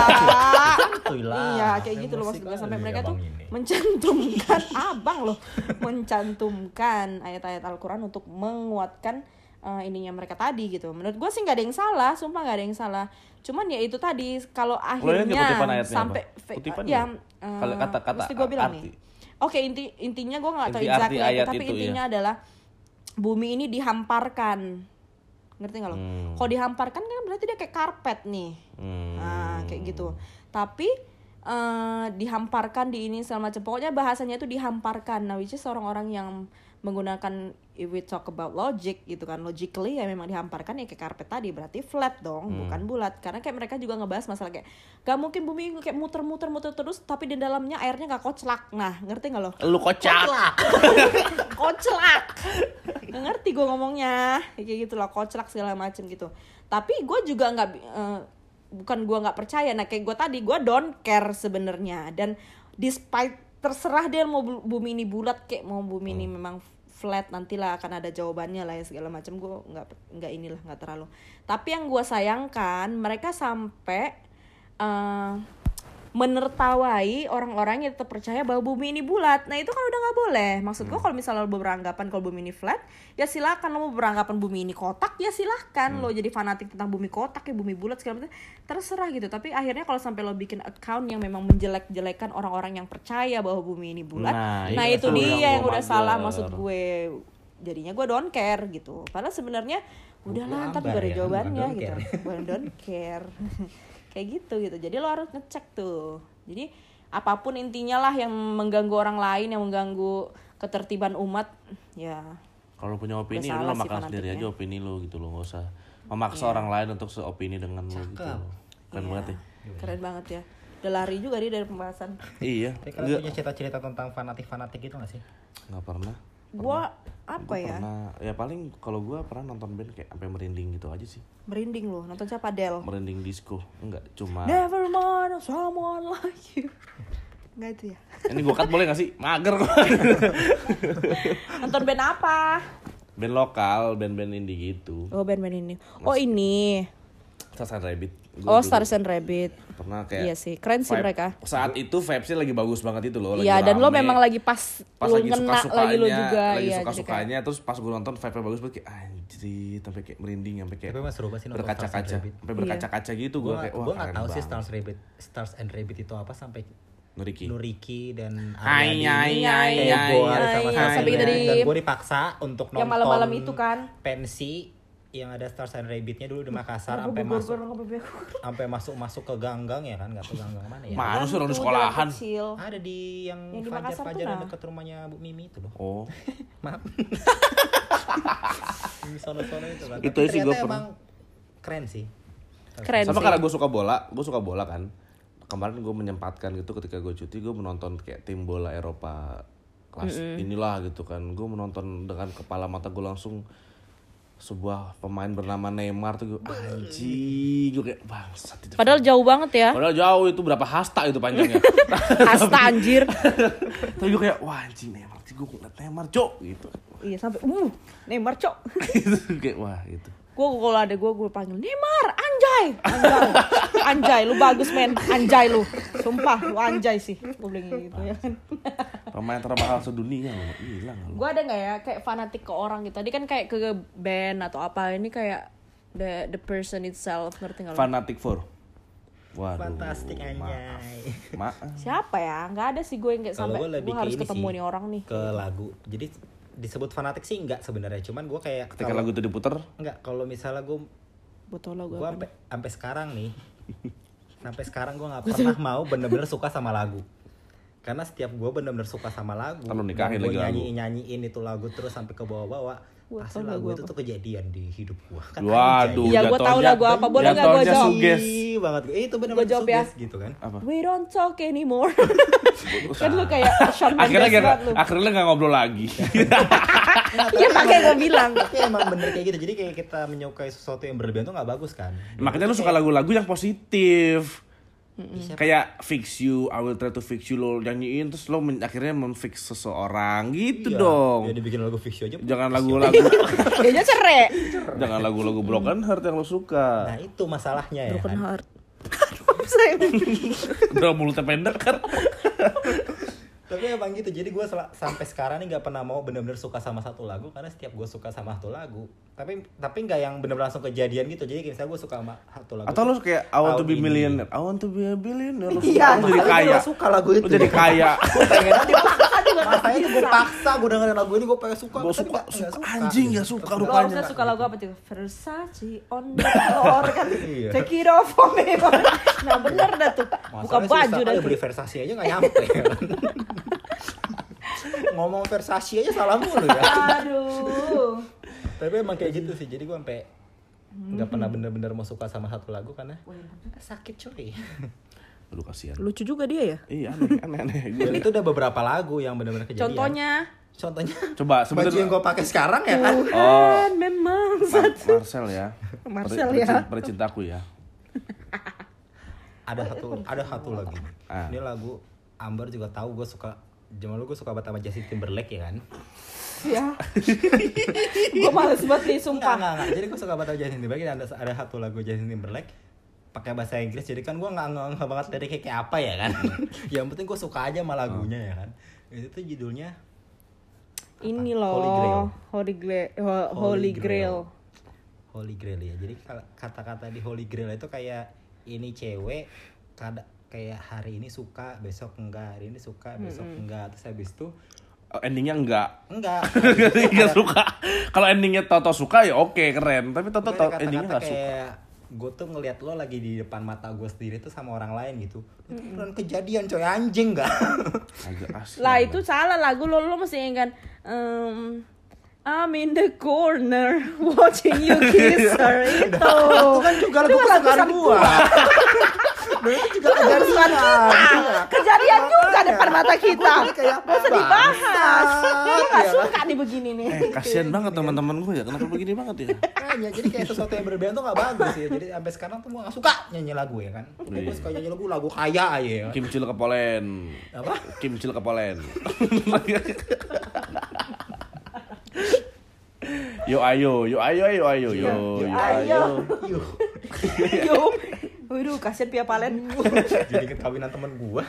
[SPEAKER 4] Itulah.
[SPEAKER 3] Iya, kayak
[SPEAKER 4] Saya
[SPEAKER 3] gitu loh
[SPEAKER 4] musik
[SPEAKER 3] maksud gue
[SPEAKER 4] kali
[SPEAKER 3] sampai
[SPEAKER 1] kan
[SPEAKER 4] ya,
[SPEAKER 3] mereka tuh
[SPEAKER 4] Bang, ini.
[SPEAKER 3] mencantumkan <laughs> abang loh, mencantumkan ayat-ayat Al-Qur'an untuk menguatkan eh, ininya mereka tadi gitu. Menurut gue sih nggak ada yang salah, sumpah nggak ada yang salah. Cuman ya itu tadi kalau
[SPEAKER 1] Lo lihat nggak
[SPEAKER 3] akhirnya
[SPEAKER 1] kutipan ayatnya
[SPEAKER 3] sampai
[SPEAKER 1] apa?
[SPEAKER 3] fe-
[SPEAKER 1] Kutipan
[SPEAKER 3] ya
[SPEAKER 1] nggak?
[SPEAKER 3] eh,
[SPEAKER 1] Kalau kata-kata
[SPEAKER 3] mesti gue bilang
[SPEAKER 1] arti.
[SPEAKER 3] nih. Oke, inti intinya gue nggak tahu
[SPEAKER 1] Inti
[SPEAKER 3] exactly
[SPEAKER 1] arti
[SPEAKER 3] apa,
[SPEAKER 1] ayat
[SPEAKER 3] tapi
[SPEAKER 1] itu, iya.
[SPEAKER 3] intinya adalah bumi ini dihamparkan. Ngerti nggak lo?
[SPEAKER 1] Hmm.
[SPEAKER 3] Kalau dihamparkan kan berarti dia kayak karpet nih.
[SPEAKER 1] Hmm.
[SPEAKER 3] Nah, kayak gitu. Tapi eh, dihamparkan di ini segala macam. Pokoknya bahasanya itu dihamparkan. Nah, which is orang-orang yang menggunakan if we talk about logic gitu kan. Logically ya memang dihamparkan ya kayak karpet tadi berarti flat dong, bukan bulat. Karena kayak mereka juga ngebahas masalah kayak gak mungkin bumi kayak muter-muter muter terus tapi di dalamnya airnya gak koclak. Nah, ngerti gak lo?
[SPEAKER 1] Lu kocak.
[SPEAKER 3] koclak nggak ngerti gue ngomongnya kayak gitu loh koclak segala macem gitu tapi gue juga nggak bi- eh, bukan gue nggak percaya nah kayak gue tadi gue don't care sebenarnya dan despite terserah dia mau bu- bumi ini bulat kayak mau bumi ini memang flat nantilah akan ada jawabannya lah ya segala macam gue nggak nggak inilah nggak terlalu tapi yang gue sayangkan mereka sampai eh, menertawai orang-orang yang tetap percaya bahwa bumi ini bulat. Nah itu kan udah nggak boleh. Maksud
[SPEAKER 1] Hmm.
[SPEAKER 3] gua kalau misalnya lo beranggapan kalau bumi ini flat, ya silakan lo mau beranggapan bumi ini kotak, ya
[SPEAKER 1] Hmm.
[SPEAKER 3] silakan lo jadi fanatik tentang bumi kotak ya bumi bulat segala macam terserah gitu. Tapi akhirnya kalau sampai lo bikin account yang memang menjelek-jelekan orang-orang yang percaya bahwa bumi ini bulat,
[SPEAKER 1] Nah,
[SPEAKER 3] nah,
[SPEAKER 1] iya,
[SPEAKER 3] itu
[SPEAKER 1] tuh yang
[SPEAKER 3] dia yang
[SPEAKER 1] gua
[SPEAKER 3] udah salah
[SPEAKER 1] mager.
[SPEAKER 3] maksud gue. Jadinya gue don't care gitu. Padahal sebenarnya udahlah, ntar
[SPEAKER 4] ambar
[SPEAKER 3] juga ada
[SPEAKER 4] ya, bukan
[SPEAKER 3] jawabannya
[SPEAKER 4] don't
[SPEAKER 3] gitu.
[SPEAKER 4] care.
[SPEAKER 3] Well,
[SPEAKER 1] <laughs>
[SPEAKER 3] don't care kayak gitu gitu jadi lo harus ngecek tuh jadi apapun intinya lah yang mengganggu orang lain yang mengganggu ketertiban umat ya
[SPEAKER 1] Kalau lu punya opini
[SPEAKER 3] Udah
[SPEAKER 1] lu
[SPEAKER 3] salah sih
[SPEAKER 1] makan sendiri aja
[SPEAKER 3] fanatiknya.
[SPEAKER 1] opini lu gitu lo nggak usah memaksa orang lain untuk seopini dengan lu gitu.
[SPEAKER 4] Cakep.
[SPEAKER 1] loh. Keren
[SPEAKER 3] Iya.
[SPEAKER 1] banget ya.
[SPEAKER 3] keren banget ya udah lari juga dia dari pembahasan
[SPEAKER 1] Iya.
[SPEAKER 4] Tapi kalian
[SPEAKER 1] Enggak
[SPEAKER 4] punya cerita-cerita tentang fanatik-fanatik gitu gak sih?
[SPEAKER 1] enggak pernah.
[SPEAKER 3] gua apa ya
[SPEAKER 1] Pernah ya paling kalau gua pernah nonton band kayak sampai merinding gitu aja sih.
[SPEAKER 3] merinding loh nonton siapa Del
[SPEAKER 1] Merinding disco. Enggak, cuma
[SPEAKER 3] Never mind someone like you nggak itu
[SPEAKER 1] <laughs>
[SPEAKER 3] ya
[SPEAKER 1] ini gua cut boleh gak sih? Mager
[SPEAKER 3] <laughs>
[SPEAKER 1] kok.
[SPEAKER 3] nonton band apa
[SPEAKER 1] band lokal, band-band indie gitu.
[SPEAKER 3] oh band band ini oh ini
[SPEAKER 1] Stars and Rabbit.
[SPEAKER 3] oh
[SPEAKER 1] Gua dulu
[SPEAKER 3] Stars and Rabbit
[SPEAKER 1] pernah kayak
[SPEAKER 3] Iya sih, keren sih
[SPEAKER 1] vibe-
[SPEAKER 3] mereka.
[SPEAKER 1] Saat itu vibes-nya lagi bagus banget itu loh, lagi
[SPEAKER 3] Iya, dan lo
[SPEAKER 1] rame.
[SPEAKER 3] memang lagi pas,
[SPEAKER 1] pas
[SPEAKER 3] lo
[SPEAKER 1] lagi
[SPEAKER 3] ngena
[SPEAKER 1] suka
[SPEAKER 3] lagi lo juga
[SPEAKER 1] lagi
[SPEAKER 3] iya,
[SPEAKER 1] suka
[SPEAKER 3] jadi kayak-
[SPEAKER 1] sukanya terus pas gue nonton vibe bagus banget kayak anjir sampai kayak merinding sampai kayak
[SPEAKER 4] Tapi emang seru banget sih nonton Stars
[SPEAKER 1] Iya. berkaca-kaca
[SPEAKER 4] and Rabbit.
[SPEAKER 1] sampai berkaca-kaca gitu gue
[SPEAKER 4] Iya. Gua
[SPEAKER 1] kayak wah
[SPEAKER 4] gue nggak
[SPEAKER 1] keren
[SPEAKER 4] tahu sih
[SPEAKER 1] banget
[SPEAKER 4] Stars Rabbit Stars and Rabbit itu apa sampai
[SPEAKER 1] Nuriki
[SPEAKER 4] Nuriki dan
[SPEAKER 1] Hai,
[SPEAKER 4] Aryani
[SPEAKER 1] hai,
[SPEAKER 4] ini
[SPEAKER 1] hai,
[SPEAKER 4] heboh
[SPEAKER 1] hai,
[SPEAKER 4] sama
[SPEAKER 1] hai,
[SPEAKER 4] Stars
[SPEAKER 1] sampai
[SPEAKER 4] and
[SPEAKER 1] kita
[SPEAKER 4] Rabbit.
[SPEAKER 3] di-
[SPEAKER 4] dan gue dipaksa untuk nonton
[SPEAKER 3] yang malam-malam itu kan.
[SPEAKER 4] pensi yang ada Stars and Rabbitnya dulu di Makassar sampai masuk sampai masuk masuk ke ganggang ya kan nggak tahu ganggang mana ya
[SPEAKER 3] Itu
[SPEAKER 1] mana sih orang
[SPEAKER 3] jalan
[SPEAKER 1] sekolahan
[SPEAKER 3] kecil.
[SPEAKER 4] ada di yang,
[SPEAKER 3] Yang di
[SPEAKER 4] Fajar
[SPEAKER 3] Makassar tuh,
[SPEAKER 4] Fajar yang
[SPEAKER 3] nah.
[SPEAKER 4] dekat rumahnya Bu Mimi itu loh
[SPEAKER 1] oh
[SPEAKER 4] maaf di sono-sono itu kan
[SPEAKER 1] Itu
[SPEAKER 4] Tapi
[SPEAKER 1] sih
[SPEAKER 4] ternyata
[SPEAKER 1] gua pernah.
[SPEAKER 4] emang keren sih
[SPEAKER 3] Keren
[SPEAKER 1] sama
[SPEAKER 3] sih.
[SPEAKER 1] karena gue suka bola gue suka bola kan kemarin gue menyempatkan gitu ketika gue cuti gue menonton kayak tim bola Eropa kelas inilah gitu kan gue menonton dengan kepala mata gue langsung sebuah pemain bernama Neymar tuh gue anjing gue kayak bangsat itu
[SPEAKER 3] Padahal jauh banget ya.
[SPEAKER 1] Padahal jauh itu berapa hasta itu panjangnya.
[SPEAKER 3] Asta anjir.
[SPEAKER 1] Tapi gue kayak wah anjing Neymar, sih gue ngeliat Neymar cok gitu.
[SPEAKER 3] <laughs>
[SPEAKER 1] <laughs>
[SPEAKER 3] iya sampai uh Neymar cok.
[SPEAKER 1] Gitu, kayak wah gitu.
[SPEAKER 3] Gue kalau ada gue gue panggil Neymar anjay. Anjay. Anjay lu bagus men. Anjay lu. Sumpah lu anjay sih. Gue bilang gitu ya kan. <laughs>
[SPEAKER 1] Pemain termahal sedunia loh, hilang loh.
[SPEAKER 3] Gue ada nggak ya kayak fanatik ke orang gitu. Tadi kan kayak ke band atau apa ini kayak the the person itself ngerti nggak lo?
[SPEAKER 1] Fanatic Four. Waduh.
[SPEAKER 4] fantastik
[SPEAKER 1] Maaf.
[SPEAKER 4] anjay <laughs>
[SPEAKER 1] Maaf.
[SPEAKER 3] Siapa ya? Nggak ada sih gue yang kayak
[SPEAKER 4] Kalau
[SPEAKER 3] sampai
[SPEAKER 4] gue lebih
[SPEAKER 3] gue
[SPEAKER 4] ke
[SPEAKER 3] harus
[SPEAKER 4] ini
[SPEAKER 3] ketemu
[SPEAKER 4] sih,
[SPEAKER 3] nih orang nih.
[SPEAKER 4] ke lagu jadi disebut fanatik sih enggak sebenarnya cuman gue kayak
[SPEAKER 1] Ketika
[SPEAKER 4] kalau-
[SPEAKER 1] lagu itu diputer,
[SPEAKER 3] Kan
[SPEAKER 4] enggak kalau misalnya gue
[SPEAKER 3] Botol lo gue.
[SPEAKER 4] gue sampai sampai sekarang
[SPEAKER 3] <laughs>
[SPEAKER 4] nih sampai sekarang gue nggak pernah mau bener-bener suka sama lagu karena setiap gue bener-bener suka sama lagu
[SPEAKER 1] Ntar lu nikahin lagi lagu.
[SPEAKER 4] nyanyiin nyanyiin itu lagu terus sampai ke bawah-bawah pasti
[SPEAKER 3] tau
[SPEAKER 4] lagu
[SPEAKER 3] lagu
[SPEAKER 4] itu tuh kejadian di hidup gue kan
[SPEAKER 1] waduh.
[SPEAKER 3] Iya, gua tahu
[SPEAKER 1] jatuhnya-
[SPEAKER 3] lagu apa. Boleh nggak gua
[SPEAKER 1] jatuhnya
[SPEAKER 3] jawab?
[SPEAKER 1] suges.
[SPEAKER 4] anjay banget Eh, itu
[SPEAKER 3] Gua
[SPEAKER 4] bener-bener
[SPEAKER 3] jawab ya.
[SPEAKER 4] suges gitu
[SPEAKER 1] <laughs>
[SPEAKER 4] kan
[SPEAKER 1] Apa?
[SPEAKER 3] We don't talk
[SPEAKER 4] <laughs>
[SPEAKER 3] anymore. <laughs> kan lu kayak Shawn Mendes
[SPEAKER 1] Akhirnya gak,
[SPEAKER 3] banget lu.
[SPEAKER 1] akhirnya gak ngobrol lagi. <laughs>
[SPEAKER 3] Iya makanya gue bilang.
[SPEAKER 4] tapi emang bener kayak gitu jadi kayak kita menyukai sesuatu yang berlebihan tuh nggak bagus kan
[SPEAKER 1] Makanya lu suka
[SPEAKER 3] Iya.
[SPEAKER 1] lagu-lagu yang positif.
[SPEAKER 4] Siapa-
[SPEAKER 1] Kayak fix you, I will try to fix you lo nyanyiin terus lo men- akhirnya memfix seseorang gitu
[SPEAKER 4] Iya,
[SPEAKER 1] dong.
[SPEAKER 4] ya dibikin lagu fix You aja
[SPEAKER 1] Jangan lagu-lagu
[SPEAKER 4] <laughs>
[SPEAKER 3] Dia cerai.
[SPEAKER 1] Jangan lagu-lagu broken heart yang lo suka.
[SPEAKER 4] nah itu masalahnya ya
[SPEAKER 3] Broken
[SPEAKER 4] kan?
[SPEAKER 3] <laughs> heart.
[SPEAKER 4] <laughs>
[SPEAKER 3] Saya
[SPEAKER 1] Udah mulutnya pendek kan.
[SPEAKER 4] tapi emang gitu jadi gue sampai sekarang nih nggak pernah mau bener-bener suka sama satu lagu karena setiap gue suka sama satu lagu tapi tapi nggak yang bener-bener langsung kejadian gitu jadi kayak misalnya gue suka sama satu lagu
[SPEAKER 1] Atau lo kayak I want to
[SPEAKER 4] Tahun
[SPEAKER 1] be
[SPEAKER 4] ini.
[SPEAKER 1] millionaire. I want to be a billionaire. Lo suka,
[SPEAKER 4] iya
[SPEAKER 1] lo jadi
[SPEAKER 4] masalahnya
[SPEAKER 1] kaya.
[SPEAKER 4] gue suka lagu itu
[SPEAKER 1] Lo jadi
[SPEAKER 4] <laughs>
[SPEAKER 1] kaya.
[SPEAKER 4] gue
[SPEAKER 3] <laughs>
[SPEAKER 4] pengen aja makanya gue paksa gue dengerin lagu ini gue pengen suka
[SPEAKER 1] Gue
[SPEAKER 4] tapi
[SPEAKER 1] suka,
[SPEAKER 4] nggak- nggak
[SPEAKER 1] suka anjing
[SPEAKER 4] gitu.
[SPEAKER 1] gak suka
[SPEAKER 3] Lo
[SPEAKER 1] rupanya.
[SPEAKER 3] harusnya suka lagu apa tuh? Versace on the floor kan.
[SPEAKER 4] Iya.
[SPEAKER 3] Take it off for me. Nah bener dah tuh. Buka
[SPEAKER 4] Masalahnya
[SPEAKER 3] baju
[SPEAKER 4] susah
[SPEAKER 3] dah
[SPEAKER 4] kali
[SPEAKER 3] tuh.
[SPEAKER 4] beli Versace aja gak nyampe ya kan? <laughs> ngomong Versace aja salah mulu ya
[SPEAKER 3] Aduh.
[SPEAKER 4] tapi emang kayak gitu sih jadi gue sampai
[SPEAKER 3] Hmm.
[SPEAKER 4] nggak pernah bener-bener mau suka sama satu lagu karena
[SPEAKER 3] iya,
[SPEAKER 4] sakit cuy
[SPEAKER 1] Aduh kasihan.
[SPEAKER 3] Lucu juga dia ya.
[SPEAKER 1] <laughs> Iya aneh aneh aneh.
[SPEAKER 4] dan
[SPEAKER 1] Gua-
[SPEAKER 4] itu udah beberapa lagu yang bener-bener kejadian
[SPEAKER 3] Contohnya.
[SPEAKER 4] contohnya
[SPEAKER 1] Coba
[SPEAKER 4] baju yang
[SPEAKER 1] sebentar.
[SPEAKER 4] gue pakai sekarang ya kan
[SPEAKER 1] Oh.
[SPEAKER 3] Kan memang.
[SPEAKER 1] Mar- Marcel ya.
[SPEAKER 3] Marcel
[SPEAKER 1] Peri-
[SPEAKER 3] ya.
[SPEAKER 1] percin- Percintaku ya.
[SPEAKER 4] ada satu ada satu lagi
[SPEAKER 1] Ah.
[SPEAKER 4] ini lagu Amber juga tahu gue suka Jaman lu gue suka banget sama Justin Timberlake ya kan? <laughs>
[SPEAKER 3] Ya. Gue males banget nih
[SPEAKER 4] Enggak,
[SPEAKER 3] sumpah.
[SPEAKER 4] enggak, enggak. Jadi gue suka banget sama Justin Timberlake. Ada, ada satu lagu Justin Timberlake pakai bahasa Inggris. Jadi kan gue nggak nggak nggak banget dari kayak apa ya
[SPEAKER 1] <laughs>
[SPEAKER 4] kan. yang penting gue suka aja sama lagunya
[SPEAKER 1] Oh.
[SPEAKER 4] ya kan. Itu tuh judulnya
[SPEAKER 3] Ini
[SPEAKER 4] Apa? Holy
[SPEAKER 3] loh. Holy Grail. Ho- Holy Grail.
[SPEAKER 4] Holy Grail ya. Jadi kal- kata-kata di Holy Grail itu kayak ini cewek kada kayak hari ini suka, besok enggak, hari ini suka, besok enggak. Terus habis itu
[SPEAKER 1] Oh, Endingnya enggak. <laughs>
[SPEAKER 4] enggak.
[SPEAKER 1] Enggak suka. Kalau endingnya Toto suka ya oke keren. Tapi Toto
[SPEAKER 4] Pokoknya
[SPEAKER 1] tau
[SPEAKER 4] ada
[SPEAKER 1] endingnya
[SPEAKER 4] kata-kata
[SPEAKER 1] nggak suka.
[SPEAKER 4] kayak gue tuh ngelihat lo lagi di depan mata gue sendiri tuh sama orang lain gitu itu beneran kejadian coy anjing gak <laughs>
[SPEAKER 1] Agak
[SPEAKER 4] Nah,
[SPEAKER 1] asli.
[SPEAKER 3] Lah itu salah lagu lo lo mesti yang kan em, I'm in the corner <laughs>
[SPEAKER 4] <laughs>
[SPEAKER 3] watching you kiss her
[SPEAKER 4] Iya.
[SPEAKER 3] itu.
[SPEAKER 4] itu kan juga lagu
[SPEAKER 3] Itu
[SPEAKER 4] <laughs>
[SPEAKER 3] lagu
[SPEAKER 4] kesukaan
[SPEAKER 3] kesukaan
[SPEAKER 4] gue
[SPEAKER 5] Dulu tuh juga kejadian kita.
[SPEAKER 3] Kejadian juga depan mata kita.
[SPEAKER 5] Kayak
[SPEAKER 3] Gak usah dibahas. Gue gak
[SPEAKER 4] ya?
[SPEAKER 5] Iya.
[SPEAKER 3] suka nih begini nih.
[SPEAKER 1] Eh, kasihan banget teman-teman gue ya. Kenapa begini banget <laughs> ya?
[SPEAKER 4] Makanya jadi kayak sesuatu yang berbeda tuh gak bagus ya. Jadi sampai sekarang tuh gue gak suka nyanyi lagu ya kan.
[SPEAKER 1] Iya.
[SPEAKER 4] Gue suka nyanyi lagu lagu kaya aja ya.
[SPEAKER 1] Kimcil ke Polen.
[SPEAKER 4] Apa?
[SPEAKER 1] Kimcil ke Polen. yo ayo, yo ayo, yo ayo, yo. Yo
[SPEAKER 3] ayo.
[SPEAKER 4] Iya. Yuh,
[SPEAKER 3] Yo. Waduh, kasihan Pia Palen.
[SPEAKER 4] jadi ketawinan temen gue.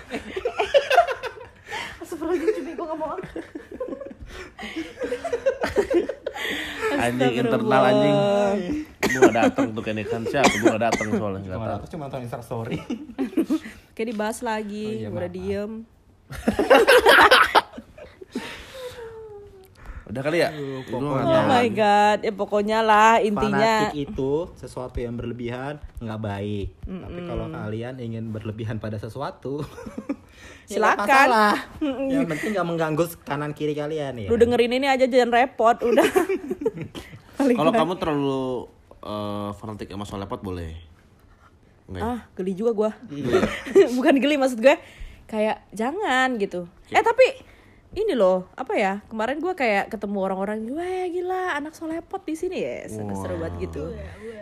[SPEAKER 3] Astagfirullahaladzim, gue ngomong apa?
[SPEAKER 1] Anjing internal anjing. Gue gak dateng tuh kayaknya kan siapa gue gak dateng soalnya nggak
[SPEAKER 4] Cuma
[SPEAKER 1] tahu.
[SPEAKER 4] aku cuma nonton Instastory.
[SPEAKER 3] Kayak dibahas lagi,
[SPEAKER 4] Oh iya,
[SPEAKER 3] udah
[SPEAKER 4] maaf.
[SPEAKER 3] diem.
[SPEAKER 1] Udah kali ya? Gue gak
[SPEAKER 3] Oh
[SPEAKER 1] tahu.
[SPEAKER 3] my god, ya pokoknya lah intinya.
[SPEAKER 4] Fanatik itu sesuatu yang berlebihan nggak baik. Tapi kalau kalian ingin berlebihan pada sesuatu, <laughs> ya nggak
[SPEAKER 3] Silakan.
[SPEAKER 4] masalah. Yang penting nggak mengganggu kanan kiri kalian ya.
[SPEAKER 3] Lu dengerin ini aja jangan repot, udah. Paling
[SPEAKER 1] <laughs> Kalau kamu terlalu eh, fanatik sama soal lepot boleh. Nggak ya?
[SPEAKER 3] ah geli juga gua <laughs> bukan geli maksud gue kayak jangan gitu eh tapi ini loh apa ya kemarin gua kayak ketemu orang-orang wah gila anak solepot di sini ya seru-seru banget gitu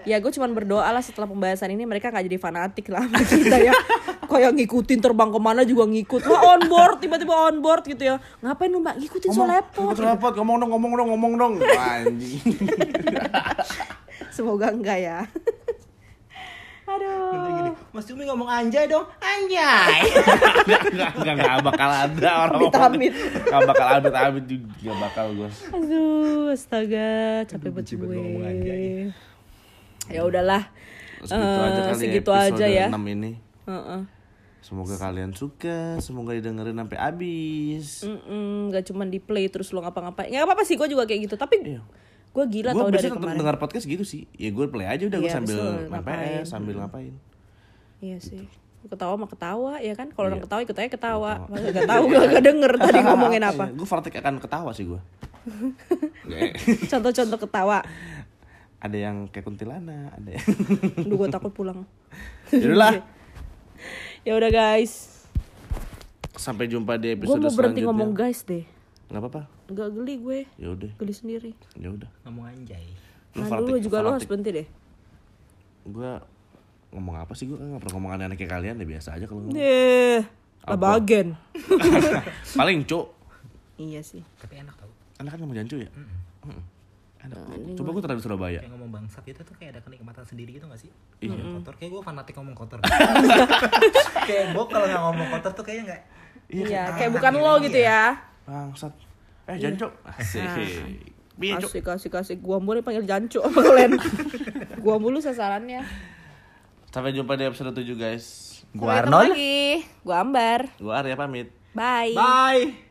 [SPEAKER 3] ya gue cuman berdoa lah setelah pembahasan ini mereka nggak jadi fanatik lah sama kita ya kayak ngikutin terbang kemana juga ngikut wah on board tiba-tiba on board gitu ya ngapain lu mbak ngikutin solepot Gitu.
[SPEAKER 1] Ngomong lepot, ngomong dong, ngomong dong, ngomong <laughs> dong. Anjing.
[SPEAKER 3] semoga enggak ya <laughs> aduh
[SPEAKER 4] Nanti gini, Mas Jumi ngomong anjay dong, anjay.
[SPEAKER 1] Enggak, enggak, enggak bakal ada orang
[SPEAKER 3] Amit-amit.
[SPEAKER 1] Enggak bakal amit amit juga Nggak bakal gue.
[SPEAKER 3] Aduh, astaga, capek banget
[SPEAKER 4] benci banget ngomong anjay.
[SPEAKER 3] gue. Ya udahlah.
[SPEAKER 1] Segitu aja
[SPEAKER 3] Eh,
[SPEAKER 1] kali
[SPEAKER 3] segitu
[SPEAKER 1] ya,
[SPEAKER 3] aja ya.
[SPEAKER 1] 6 ini.
[SPEAKER 3] Heeh.
[SPEAKER 1] Semoga kalian suka, semoga didengerin sampai habis.
[SPEAKER 3] Mm-mm, Gak cuman di play terus lo ngapa-ngapain. Gak apa-apa sih, gue juga kayak gitu. Tapi gue gila
[SPEAKER 1] Gue
[SPEAKER 3] tau dari
[SPEAKER 1] Iya. biasanya tetap
[SPEAKER 3] kemarin.
[SPEAKER 1] dengar podcast gitu sih. Ya gue play aja udah gue
[SPEAKER 3] Iya,
[SPEAKER 1] sambil
[SPEAKER 3] betul,
[SPEAKER 1] main
[SPEAKER 3] ngapain.
[SPEAKER 1] PS, sambil ngapain.
[SPEAKER 3] Iya sih. Ketawa mah ketawa, ya kan? Kalau orang
[SPEAKER 1] Iya.
[SPEAKER 3] ketawa ikut aja ketawa. Masa gak tau, gue gak
[SPEAKER 1] <laughs>
[SPEAKER 3] denger tadi ngomongin apa.
[SPEAKER 1] Gue Iya, fanatik akan ketawa sih gue. iya.
[SPEAKER 3] Contoh-contoh ketawa.
[SPEAKER 1] ada yang kayak kuntilanak, ada yang...
[SPEAKER 3] <laughs> Aduh, gue takut pulang.
[SPEAKER 1] Yaudah
[SPEAKER 3] Iya.
[SPEAKER 1] lah.
[SPEAKER 3] Ya udah guys.
[SPEAKER 1] Sampai jumpa di
[SPEAKER 3] Gue mau
[SPEAKER 1] episode
[SPEAKER 3] berhenti
[SPEAKER 1] selanjutnya.
[SPEAKER 3] ngomong guys deh.
[SPEAKER 1] Gak apa-apa.
[SPEAKER 3] Gak geli gue.
[SPEAKER 1] Ya udah,
[SPEAKER 3] Geli sendiri.
[SPEAKER 1] ya udah.
[SPEAKER 4] <laughs> ngomong anjay.
[SPEAKER 3] Nah, dulu juga lo harus berhenti deh.
[SPEAKER 1] Gue ngomong apa sih gue nggak pernah ngomong aneh-aneh kayak kalian deh biasa aja kalau ngomong.
[SPEAKER 3] Eh, labagen.
[SPEAKER 1] paling cuk
[SPEAKER 3] Iya sih.
[SPEAKER 4] Tapi enak tau.
[SPEAKER 1] anak kan ngomong jancu ya Mm-mm. Enak.
[SPEAKER 3] Nah,
[SPEAKER 1] coba gue terapin Surabaya
[SPEAKER 4] Kayak ngomong bangsat gitu tuh kayak ada kenikmatan sendiri gitu gak sih?
[SPEAKER 1] Iya.
[SPEAKER 4] Ngomong Kotor kayak gue fanatik ngomong kotor. <laughs> kayak gue kalau nggak ngomong kotor tuh kayaknya nggak.
[SPEAKER 3] Iya, kayak bukan lo gitu ya.
[SPEAKER 1] bangsat eh
[SPEAKER 3] Iya.
[SPEAKER 1] jancu asik
[SPEAKER 3] Nah.
[SPEAKER 1] Biar cuk
[SPEAKER 3] Asik, asik, asik. Gua mulu panggil jancu sama <laughs> Len. Gua mulu sasarannya.
[SPEAKER 1] sampai jumpa di episode 7 guys
[SPEAKER 3] Sampai ketemu lagi. Gua Ambar.
[SPEAKER 1] gue Arya pamit
[SPEAKER 3] Bye.
[SPEAKER 4] Bye.